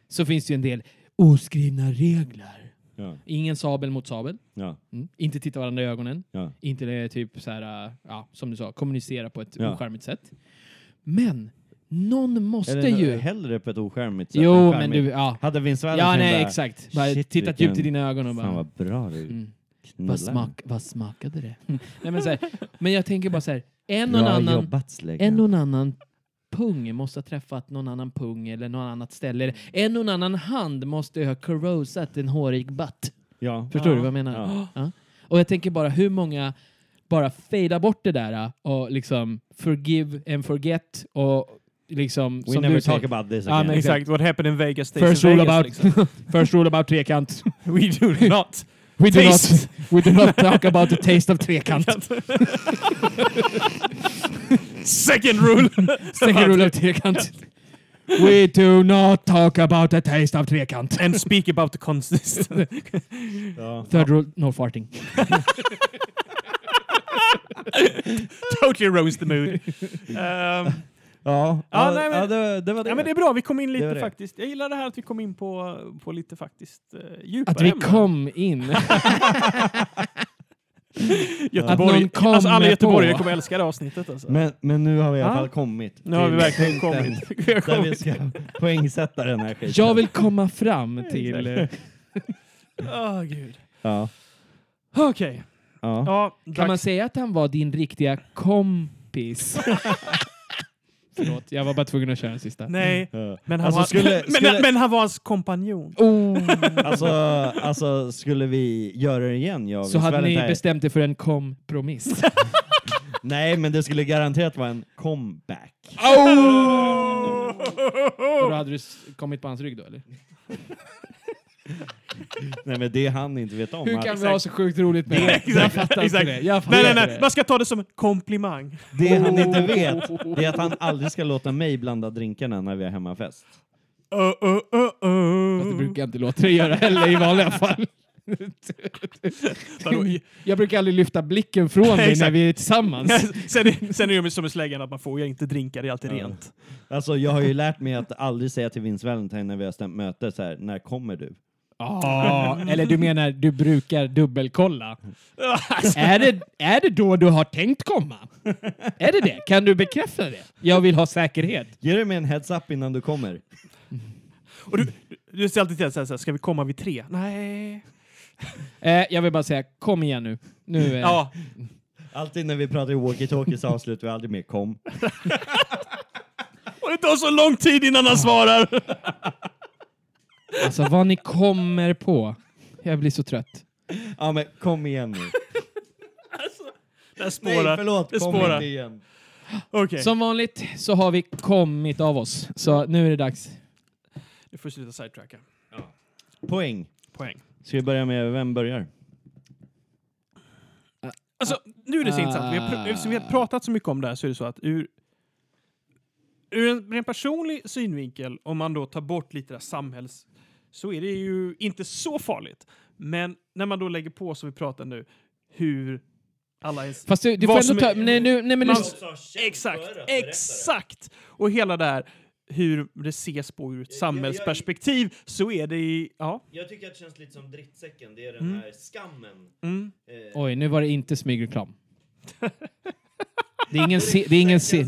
Speaker 6: så finns det ju en del oskrivna regler.
Speaker 5: Ja.
Speaker 6: Ingen sabel mot sabel.
Speaker 5: Ja,
Speaker 6: Mm. Inte titta varandra i ögonen.
Speaker 5: ja.
Speaker 6: Inte eh, typ så här, eh, ja, som du sa, kommunicera på ett
Speaker 5: Ja.
Speaker 6: ocharmigt sätt. Men någon måste
Speaker 5: Eller
Speaker 6: ju...
Speaker 5: hellre på ett oskärmigt sätt än
Speaker 6: Jo, men
Speaker 5: charmigt.
Speaker 6: du... Ja,
Speaker 5: Hade Vince Valentin
Speaker 6: ja nej,
Speaker 5: bara,
Speaker 6: exakt. Bara
Speaker 5: shit,
Speaker 6: titta
Speaker 5: vilken-
Speaker 6: djupt i dina ögon och
Speaker 5: Fan
Speaker 6: bara...
Speaker 5: vad bra du
Speaker 6: Mm.
Speaker 5: knullar.
Speaker 6: Vad, smak, vad smakade det? [LAUGHS] nej, men, så här, men jag tänker bara så här, en och en
Speaker 5: Bra
Speaker 6: annan...
Speaker 5: jobbat släggan.
Speaker 6: En och en annan pung måste ha träffat någon annan pung eller någon annat ställe. Eller En och en annan hand måste ha corrosat en hårig butt.
Speaker 5: Ja.
Speaker 6: Förstår du vad jag menar?
Speaker 5: Ja.
Speaker 6: Ja. Och jag tänker bara hur många bara fejdar bort det där och liksom forgive and forget och liksom...
Speaker 5: We
Speaker 6: som
Speaker 5: never
Speaker 6: du
Speaker 5: talk
Speaker 6: säger.
Speaker 5: about this
Speaker 6: Ja,
Speaker 5: again.
Speaker 6: men-
Speaker 3: Exakt, what happened in Vegas stays
Speaker 6: First
Speaker 3: in
Speaker 6: rule,
Speaker 3: Vegas.
Speaker 6: about,
Speaker 3: liksom. [LAUGHS]
Speaker 6: first rule about trekant.
Speaker 3: We do not.
Speaker 6: [LAUGHS] We do, not,
Speaker 3: Taste.
Speaker 6: we do not talk about the taste of [LAUGHS] trekant.
Speaker 3: Second rule.
Speaker 6: Second rule of trekant. [LAUGHS] We do not talk about the taste of trekant.
Speaker 3: And speak about the consist.
Speaker 5: Ja.
Speaker 6: Third rule, no farting.
Speaker 3: [LAUGHS] totally rose the mood. Ehm,
Speaker 5: Ja,
Speaker 3: Ja,
Speaker 5: ja,
Speaker 3: nej, men-
Speaker 5: ja det, det var det.
Speaker 3: ja, men det är bra, vi kom in
Speaker 5: Det var
Speaker 3: lite
Speaker 5: det.
Speaker 3: faktiskt. Jag gillar det här att vi kom in på, på lite faktiskt uh, djupare
Speaker 6: Att vi
Speaker 3: ämnen.
Speaker 6: kom [LAUGHS] in.
Speaker 3: Göteborg.
Speaker 6: att någon kom
Speaker 3: alltså, alla
Speaker 6: med
Speaker 3: göteborgare
Speaker 6: på.
Speaker 3: kommer älska det här avsnittet. Alltså.
Speaker 5: Men, men nu har vi i alla
Speaker 3: Ja.
Speaker 5: fall kommit.
Speaker 3: nu har vi
Speaker 5: till
Speaker 3: verkligen
Speaker 5: punkten
Speaker 3: kommit. [LAUGHS] Vi har
Speaker 5: Där vi
Speaker 3: kommit.
Speaker 5: ska poängsätta den här skiten.
Speaker 6: Jag vill komma fram till... eh,
Speaker 3: Åh, gud.
Speaker 5: Ja.
Speaker 3: Okej.
Speaker 5: Ja.
Speaker 3: Ja,
Speaker 6: Kan
Speaker 3: dags-
Speaker 6: man säga att han var din riktiga kompis? [LAUGHS] Förlåt, jag var bara tvungen att köra den sista.
Speaker 3: Nej,
Speaker 5: Ja.
Speaker 3: men han,
Speaker 5: Alltså,
Speaker 3: var,
Speaker 5: skulle-
Speaker 3: [LAUGHS] men,
Speaker 5: skulle-
Speaker 3: men han var hans [LAUGHS] kompanjon.
Speaker 6: Oh,
Speaker 5: Alltså, alltså, skulle vi göra det igen? Jag och
Speaker 6: så
Speaker 5: Vince
Speaker 6: hade ni
Speaker 5: Valentine?
Speaker 6: bestämt er för en [LAUGHS] kompromiss.
Speaker 5: Nej, men det skulle garanterat vara en comeback.
Speaker 6: Oh! Och då hade du s- kommit på hans rygg då, eller?
Speaker 5: Nej, men det han inte vet om.
Speaker 6: Hur
Speaker 5: att
Speaker 6: kan vi ha så sjukt roligt med det? Jag
Speaker 3: Exakt,
Speaker 6: fattar inte
Speaker 3: exakt.
Speaker 6: det. Jag fattar
Speaker 3: Nej, nej,
Speaker 6: inte
Speaker 3: nej.
Speaker 6: det.
Speaker 3: Man ska ta det som en komplimang.
Speaker 5: Det han inte vet, det är att han aldrig ska låta mig blanda drinkarna när vi har hemmafest.
Speaker 3: Uh, uh, uh, uh.
Speaker 6: Fast det brukar jag inte låta dig göra heller i
Speaker 3: [LAUGHS]
Speaker 6: vanliga fall.
Speaker 3: Vadå, i-
Speaker 6: Jag brukar aldrig lyfta blicken från dig när
Speaker 3: Exakt.
Speaker 6: vi är
Speaker 3: [LAUGHS]
Speaker 6: tillsammans.
Speaker 3: sen, är- sen är det ju som med släggan att man får ju inte drinka, det är alltid
Speaker 5: Ja.
Speaker 3: rent.
Speaker 5: Alltså jag har ju lärt mig att aldrig säga till Vince Valentine när vi har stämt möte så här, när kommer du?
Speaker 6: Ja, eller du menar du
Speaker 3: [LAUGHS]
Speaker 6: brukar dubbelkolla. är, det, är det då du har tänkt komma? Är det det? Kan du bekräfta det? Jag vill ha säkerhet.
Speaker 5: Ge dig mig en heads up innan du kommer.
Speaker 3: Och du, du säger alltid till så här, så här, ska vi komma vid tre? Nej.
Speaker 6: Eh, jag vill bara säga, kom igen nu. nu eh,
Speaker 3: Ja,
Speaker 5: Alltid när vi pratar i walkie-talkie så avslutar vi aldrig med kom.
Speaker 3: och det tar så lång tid innan han svarar.
Speaker 6: Alltså vad ni kommer på. Jag blir så trött.
Speaker 5: Ja men kom igen nu.
Speaker 3: Där
Speaker 5: Nej
Speaker 3: spårar.
Speaker 5: förlåt,
Speaker 3: Det
Speaker 5: kom
Speaker 3: spårar.
Speaker 5: inte igen.
Speaker 3: Okej,
Speaker 6: Som vanligt så har vi kommit av oss. Så nu är det dags.
Speaker 3: nu får vi sluta sidetracka.
Speaker 5: Poäng.
Speaker 3: Poäng.
Speaker 5: Ska vi börja med, vem börjar?
Speaker 3: Alltså, nu är det så intressant. Vi har, pr- eftersom vi har pratat så mycket om det här så är det så att ur, ur en rent personlig synvinkel, om man då tar bort lite där samhälls... så är det ju inte så farligt. Men när man då lägger på, som vi pratar nu, hur alla ens...
Speaker 6: Fast du, du
Speaker 3: Vad
Speaker 6: får ändå
Speaker 3: som
Speaker 6: ta...
Speaker 3: är-
Speaker 6: nej, nu, nej, men nu,
Speaker 3: Man- Exakt, exakt! Och hela det här hur det ses på ur ett samhällsperspektiv så är det i... Ja.
Speaker 5: Jag tycker att det känns lite som drittsäcken, det är den
Speaker 3: Mm.
Speaker 5: här skammen.
Speaker 3: Mm.
Speaker 6: Oj, nu var det inte smygreklam. Det är ingen, se, det är ingen, se,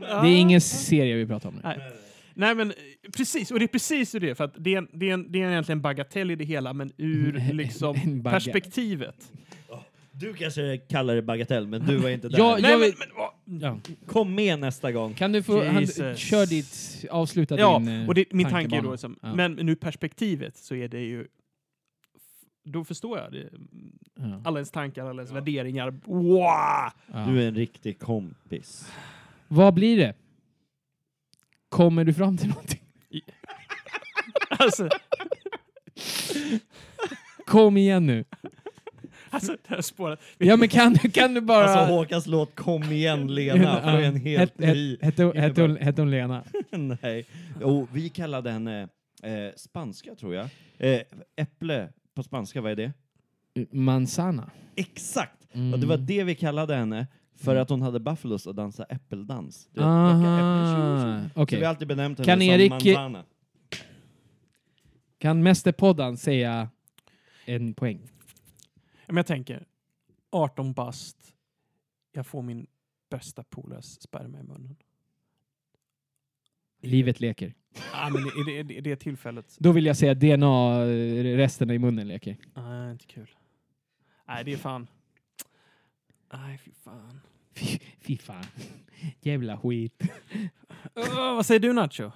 Speaker 6: det är ingen serie vi pratar om nu.
Speaker 3: Nej. Nej men eh, precis, och det är precis hur det är för att det är, en- det är, en, det är egentligen en bagatell i det hela men ur
Speaker 6: [LAUGHS] En-
Speaker 3: liksom
Speaker 6: en bagga-
Speaker 3: perspektivet.
Speaker 5: Du kanske kallar det bagatell, men du var inte där.
Speaker 6: Ja,
Speaker 3: Nej,
Speaker 6: jag
Speaker 3: men,
Speaker 6: vill-
Speaker 3: men, vad-
Speaker 6: Ja.
Speaker 5: Kom med nästa gång.
Speaker 6: Kan du få... Han,
Speaker 3: Jesus.
Speaker 6: kör ditt... Avsluta
Speaker 3: ja,
Speaker 6: din eh,
Speaker 3: och det, min tanke är
Speaker 6: tankebana.
Speaker 3: då liksom,
Speaker 6: Ja.
Speaker 3: men nu perspektivet så är det ju då förstår jag det.
Speaker 6: Ja.
Speaker 3: Alla ens tankar, alla ens värderingar. Wow! [LAUGHS]
Speaker 6: Ja.
Speaker 5: Du är en riktig kompis.
Speaker 6: Vad blir det? Kommer du fram till någonting?
Speaker 3: Alltså,
Speaker 6: Kom igen nu.
Speaker 3: alltså det här spåret.
Speaker 6: Ja, men kan, du- kan du bara...
Speaker 5: Alltså Håkans låt Kom igen Lena får en helt
Speaker 6: Het- het-
Speaker 5: ny... [LAUGHS]
Speaker 6: hette hon- hette hon-
Speaker 5: innebörd.
Speaker 6: Hette hon Lena?
Speaker 5: Nej. Och vi kallade henne eh, spanska tror jag. Eh, äpple på spanska, vad är det?
Speaker 6: Manzana.
Speaker 5: Exakt!
Speaker 6: Mm.
Speaker 5: Och det var det vi kallade henne för att hon hade buffalos och dansa äppeldans. Du vet, plocka äpplen, tjo,
Speaker 6: Ah,
Speaker 5: tjo. Så
Speaker 6: okej.
Speaker 5: vi har alltid benämnt henne
Speaker 6: Kan
Speaker 5: som
Speaker 6: Erik-
Speaker 5: Manzana.
Speaker 6: Kan Mästerpoddan säga en poäng?
Speaker 3: Men jag tänker, 18 bast, jag får min bästa polares sperma i munnen.
Speaker 6: Livet leker.
Speaker 3: Ja, men i det, i det, i det tillfället.
Speaker 6: Då vill jag säga DNA-resten i munnen leker.
Speaker 3: Nej, inte kul. Nej, det är fan. Nej, fy fan.
Speaker 6: Fy, fy fan. Jävla skit.
Speaker 3: Öh, vad säger du Nacho?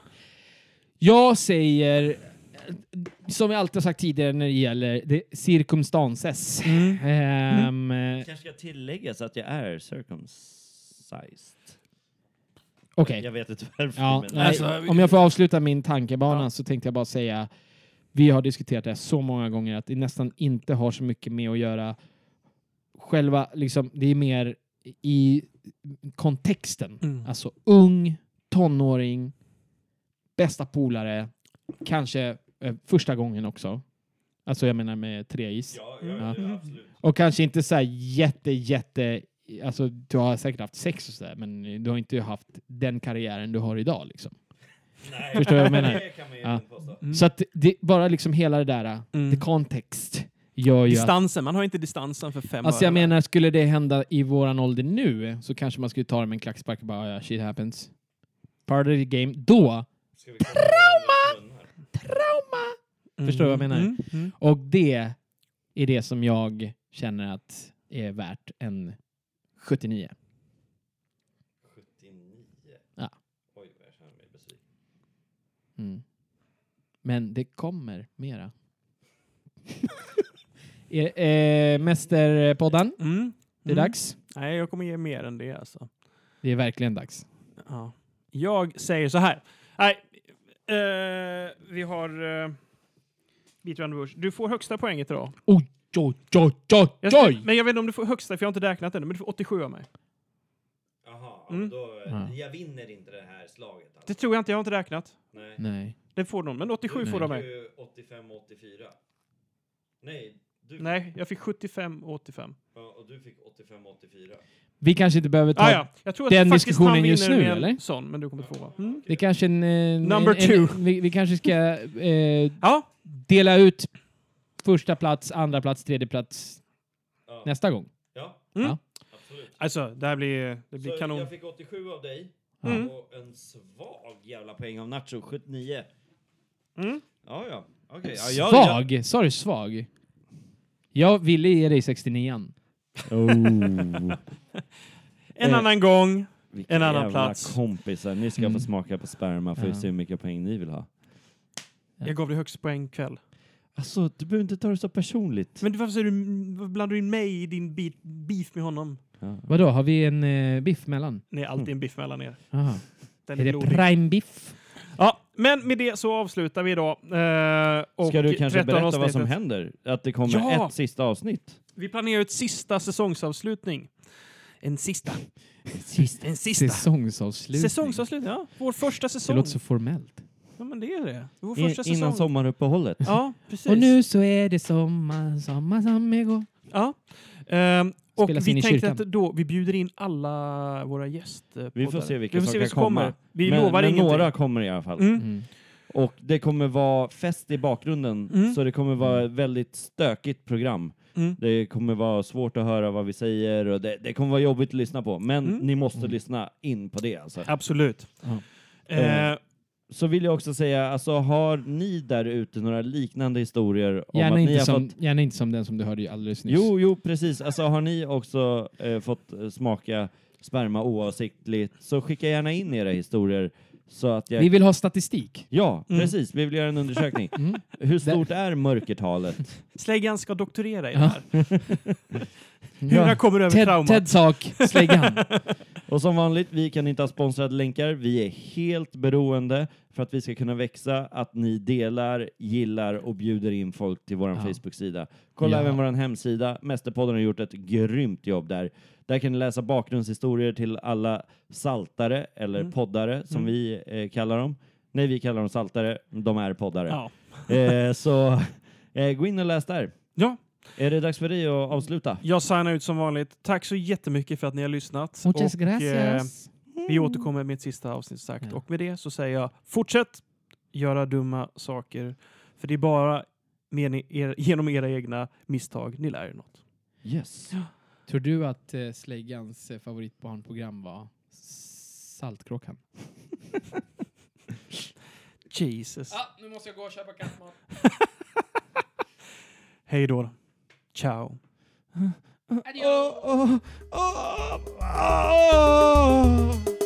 Speaker 6: Jag säger, eh, som jag alltid har sagt tidigare när det gäller det, circumstances. Ehm, eh,
Speaker 5: Kanske ska tilläggas att jag är circumcised.
Speaker 6: Okej.
Speaker 5: Jag vet inte varför.
Speaker 6: Ja,
Speaker 5: men
Speaker 6: nej,
Speaker 3: Alltså,
Speaker 6: om jag får avsluta min tankebana
Speaker 3: Ja.
Speaker 6: så tänkte jag bara säga, vi har diskuterat det här så många gånger att det nästan inte har så mycket med att göra själva, liksom, det är mer i kontexten.
Speaker 3: Mm.
Speaker 6: Alltså ung, tonåring, bästa polare, kanske eh, första gången också. Alltså jag menar med tre is. ja, ja, Och kanske inte så här jätte, jätte... Alltså, du har säkert haft sex och sådär, men du har inte haft den karriären du har idag. Liksom. Förstår du vad jag menar? Ja. Så att det, bara liksom hela det där,
Speaker 3: Mm.
Speaker 6: the context, gör ju att...
Speaker 3: Distansen, man har inte distansen för fem
Speaker 6: Alltså jag
Speaker 3: öre.
Speaker 6: menar, skulle det hända i våran ålder nu så kanske man skulle ta det med en klackspark och bara, ja, shit happens. Part of the game. Då, trauma! Trauma! Förstår du vad jag menar?
Speaker 3: Mm, mm.
Speaker 6: Och det är det som jag känner att är värt en 79. Ja. Mm. Men det kommer mera. [LAUGHS] Eh, eh, Mästerpodden,
Speaker 3: Mm.
Speaker 6: det är
Speaker 3: Mm.
Speaker 6: dags.
Speaker 3: Nej, jag kommer ge mer än det alltså.
Speaker 6: Det är verkligen dags.
Speaker 3: Ja. Jag säger så här. Nej, eh, vi har... Uh, Bitrunder Bush. Du får högsta poänget idag.
Speaker 6: Oj, oj, oj, oj,
Speaker 3: Jag,
Speaker 6: oj!
Speaker 3: Men jag vet inte om du får högsta, för jag har inte räknat ännu, men du får 87 av mig.
Speaker 5: Jaha,
Speaker 3: Mm.
Speaker 5: då,
Speaker 6: Ja. Mm.
Speaker 5: jag vinner inte det här slaget. alltså.
Speaker 3: Det tror jag inte, jag har inte räknat.
Speaker 5: Nej.
Speaker 6: Nej.
Speaker 3: Det får de, men 87 får de mig.
Speaker 5: 85 84. Nej, du.
Speaker 3: Nej, jag fick 75 och 85.
Speaker 5: och du fick 85 84.
Speaker 6: Vi kanske inte behöver ta...
Speaker 3: Ah, ja. Jag tror att
Speaker 6: den
Speaker 3: faktiskt
Speaker 6: diskussionen
Speaker 3: han
Speaker 6: just
Speaker 3: vinner
Speaker 6: nu,
Speaker 3: med
Speaker 6: eller?
Speaker 3: en sån, men du kommer tvåa. Mm.
Speaker 6: Det kanske en... eh,
Speaker 3: Number
Speaker 6: en,
Speaker 3: two.
Speaker 6: En, vi, vi kanske ska eh,
Speaker 3: Ja,
Speaker 6: dela ut första plats, andra plats, tredje plats nästa gång.
Speaker 5: Ja,
Speaker 3: Mm.
Speaker 6: Ja.
Speaker 5: absolut.
Speaker 3: alltså det här blir, det blir
Speaker 5: Så
Speaker 3: kanon.
Speaker 5: jag fick 87 av dig
Speaker 3: Mm.
Speaker 5: och en svag jävla poäng av Nacho, 79.
Speaker 3: Mm.
Speaker 5: Ja, ja. Okej. Ja, jag- jag-
Speaker 6: Svag? Sa du svag? Jag ville ge dig 69an.
Speaker 5: Oh,
Speaker 3: En
Speaker 5: Eh,
Speaker 3: annan gång. [LAUGHS]
Speaker 5: vilka
Speaker 3: En annan
Speaker 5: jävla
Speaker 3: plats.
Speaker 5: kompisar. Ni ska
Speaker 6: Mm.
Speaker 5: få smaka på sperma för att
Speaker 6: Ja.
Speaker 5: se hur mycket poäng ni vill ha.
Speaker 3: Jag gav dig högst poäng kväll.
Speaker 5: Alltså, du behöver inte ta det så personligt.
Speaker 3: Men du, varför säger du, varför blandar du in mig i din beat, beef med honom?
Speaker 6: Vadå, har vi en eh, biff mellan?
Speaker 3: Det är alltid en biff mellan er.
Speaker 6: Aha.
Speaker 3: Den
Speaker 6: Är
Speaker 3: är
Speaker 6: det
Speaker 3: blodig.
Speaker 6: prime biff?
Speaker 3: Ja, men med det så avslutar vi idag. Eh, och
Speaker 5: Ska du kanske
Speaker 3: 13
Speaker 5: berätta vad
Speaker 3: avsnittet.
Speaker 5: som händer? Att det kommer
Speaker 3: Ja!
Speaker 5: ett sista avsnitt?
Speaker 3: Vi planerar ett sista säsongsavslutning. En sista.
Speaker 6: Sista.
Speaker 3: En sista.
Speaker 6: Säsongsavslutning.
Speaker 3: Säsongsavslutning, ja. Vår första
Speaker 6: Det
Speaker 3: säsong.
Speaker 6: låter så formellt.
Speaker 3: Ja, men det är det. Vår
Speaker 5: In,
Speaker 3: första säsong.
Speaker 5: innan sommaruppehållet?
Speaker 3: Ja, precis.
Speaker 6: Och nu så är det sommar, sommar som är
Speaker 5: Mm.
Speaker 6: god.
Speaker 3: Ja. Ehm, och
Speaker 6: Spelas in i
Speaker 3: vi tänkte
Speaker 6: kyrkan.
Speaker 3: att då, vi bjuder in alla våra gästpoddare.
Speaker 5: Vi får se vilka
Speaker 3: Vi får
Speaker 5: som
Speaker 3: se
Speaker 5: kan
Speaker 3: vilka som kommer.
Speaker 5: komma.
Speaker 3: Vi
Speaker 5: men,
Speaker 3: lovar
Speaker 5: men
Speaker 3: ingenting.
Speaker 5: några kommer i alla fall.
Speaker 3: Mm.
Speaker 6: Mm.
Speaker 5: Och det kommer vara fest i bakgrunden,
Speaker 3: Mm.
Speaker 5: så det kommer vara ett väldigt stökigt program.
Speaker 3: Mm.
Speaker 5: Det kommer vara svårt att höra vad vi säger och det, det kommer vara jobbigt att lyssna på. Men
Speaker 3: Mm.
Speaker 5: ni måste lyssna in på det alltså.
Speaker 3: Absolut.
Speaker 6: Ja.
Speaker 3: Eh,
Speaker 5: Så vill jag också säga, alltså har ni där ute några liknande historier om
Speaker 6: Gärna,
Speaker 5: att ni
Speaker 6: inte
Speaker 5: har
Speaker 6: som,
Speaker 5: fått...
Speaker 6: gärna inte som den som du hörde ju alldeles nyss.
Speaker 5: Jo, jo, precis. Alltså har ni också eh, fått eh, smaka sperma oavsiktligt så skicka gärna in era historier så att jag...
Speaker 6: Vi vill ha statistik.
Speaker 5: Ja,
Speaker 3: Mm.
Speaker 5: precis. Vi vill göra
Speaker 3: [LAUGHS]
Speaker 5: en undersökning. [LAUGHS]
Speaker 6: Mm.
Speaker 5: Hur stort är mörkertalet?
Speaker 3: Släggan ska doktorera i det
Speaker 6: Ja.
Speaker 3: här. Hur han kommer över
Speaker 6: Ted,
Speaker 3: traumat.
Speaker 6: Ted Sak,
Speaker 5: [LAUGHS]
Speaker 6: släggan.
Speaker 5: Och som vanligt, vi kan inte ha sponsrade länkar. Vi är helt beroende för att vi ska kunna växa, att ni delar, gillar och bjuder in folk till vår
Speaker 6: Ja.
Speaker 5: Facebook-sida. Kolla
Speaker 6: Ja.
Speaker 5: även vår hemsida. Mästerpodden har gjort ett grymt jobb där. Där kan ni läsa bakgrundshistorier till alla saltare eller
Speaker 3: Mm.
Speaker 5: poddare som
Speaker 3: Mm.
Speaker 5: vi eh, kallar dem. Nej, vi kallar dem saltare. De är poddare.
Speaker 3: Ja.
Speaker 5: Eh, så eh, gå in och läs där.
Speaker 3: ja,
Speaker 5: Är det dags för dig att avsluta?
Speaker 3: jag signar ut som vanligt. Tack så jättemycket för att ni har lyssnat.
Speaker 6: Muchas
Speaker 3: Och, eh,
Speaker 6: gracias.
Speaker 3: Vi återkommer med ett sista avsnitt sagt.
Speaker 6: Ja.
Speaker 3: Och med det så säger jag fortsätt göra dumma saker. För det är bara med er, genom era egna misstag ni lär er något.
Speaker 5: Yes.
Speaker 6: Tror du att eh, släggans eh, favoritbarnprogram var Saltkråkan?
Speaker 3: Jesus.
Speaker 6: Ah, nu måste jag gå och köpa kattmat.
Speaker 3: [LAUGHS] Hej då. Ciao.
Speaker 6: Adios!
Speaker 5: Oh, oh, oh, oh.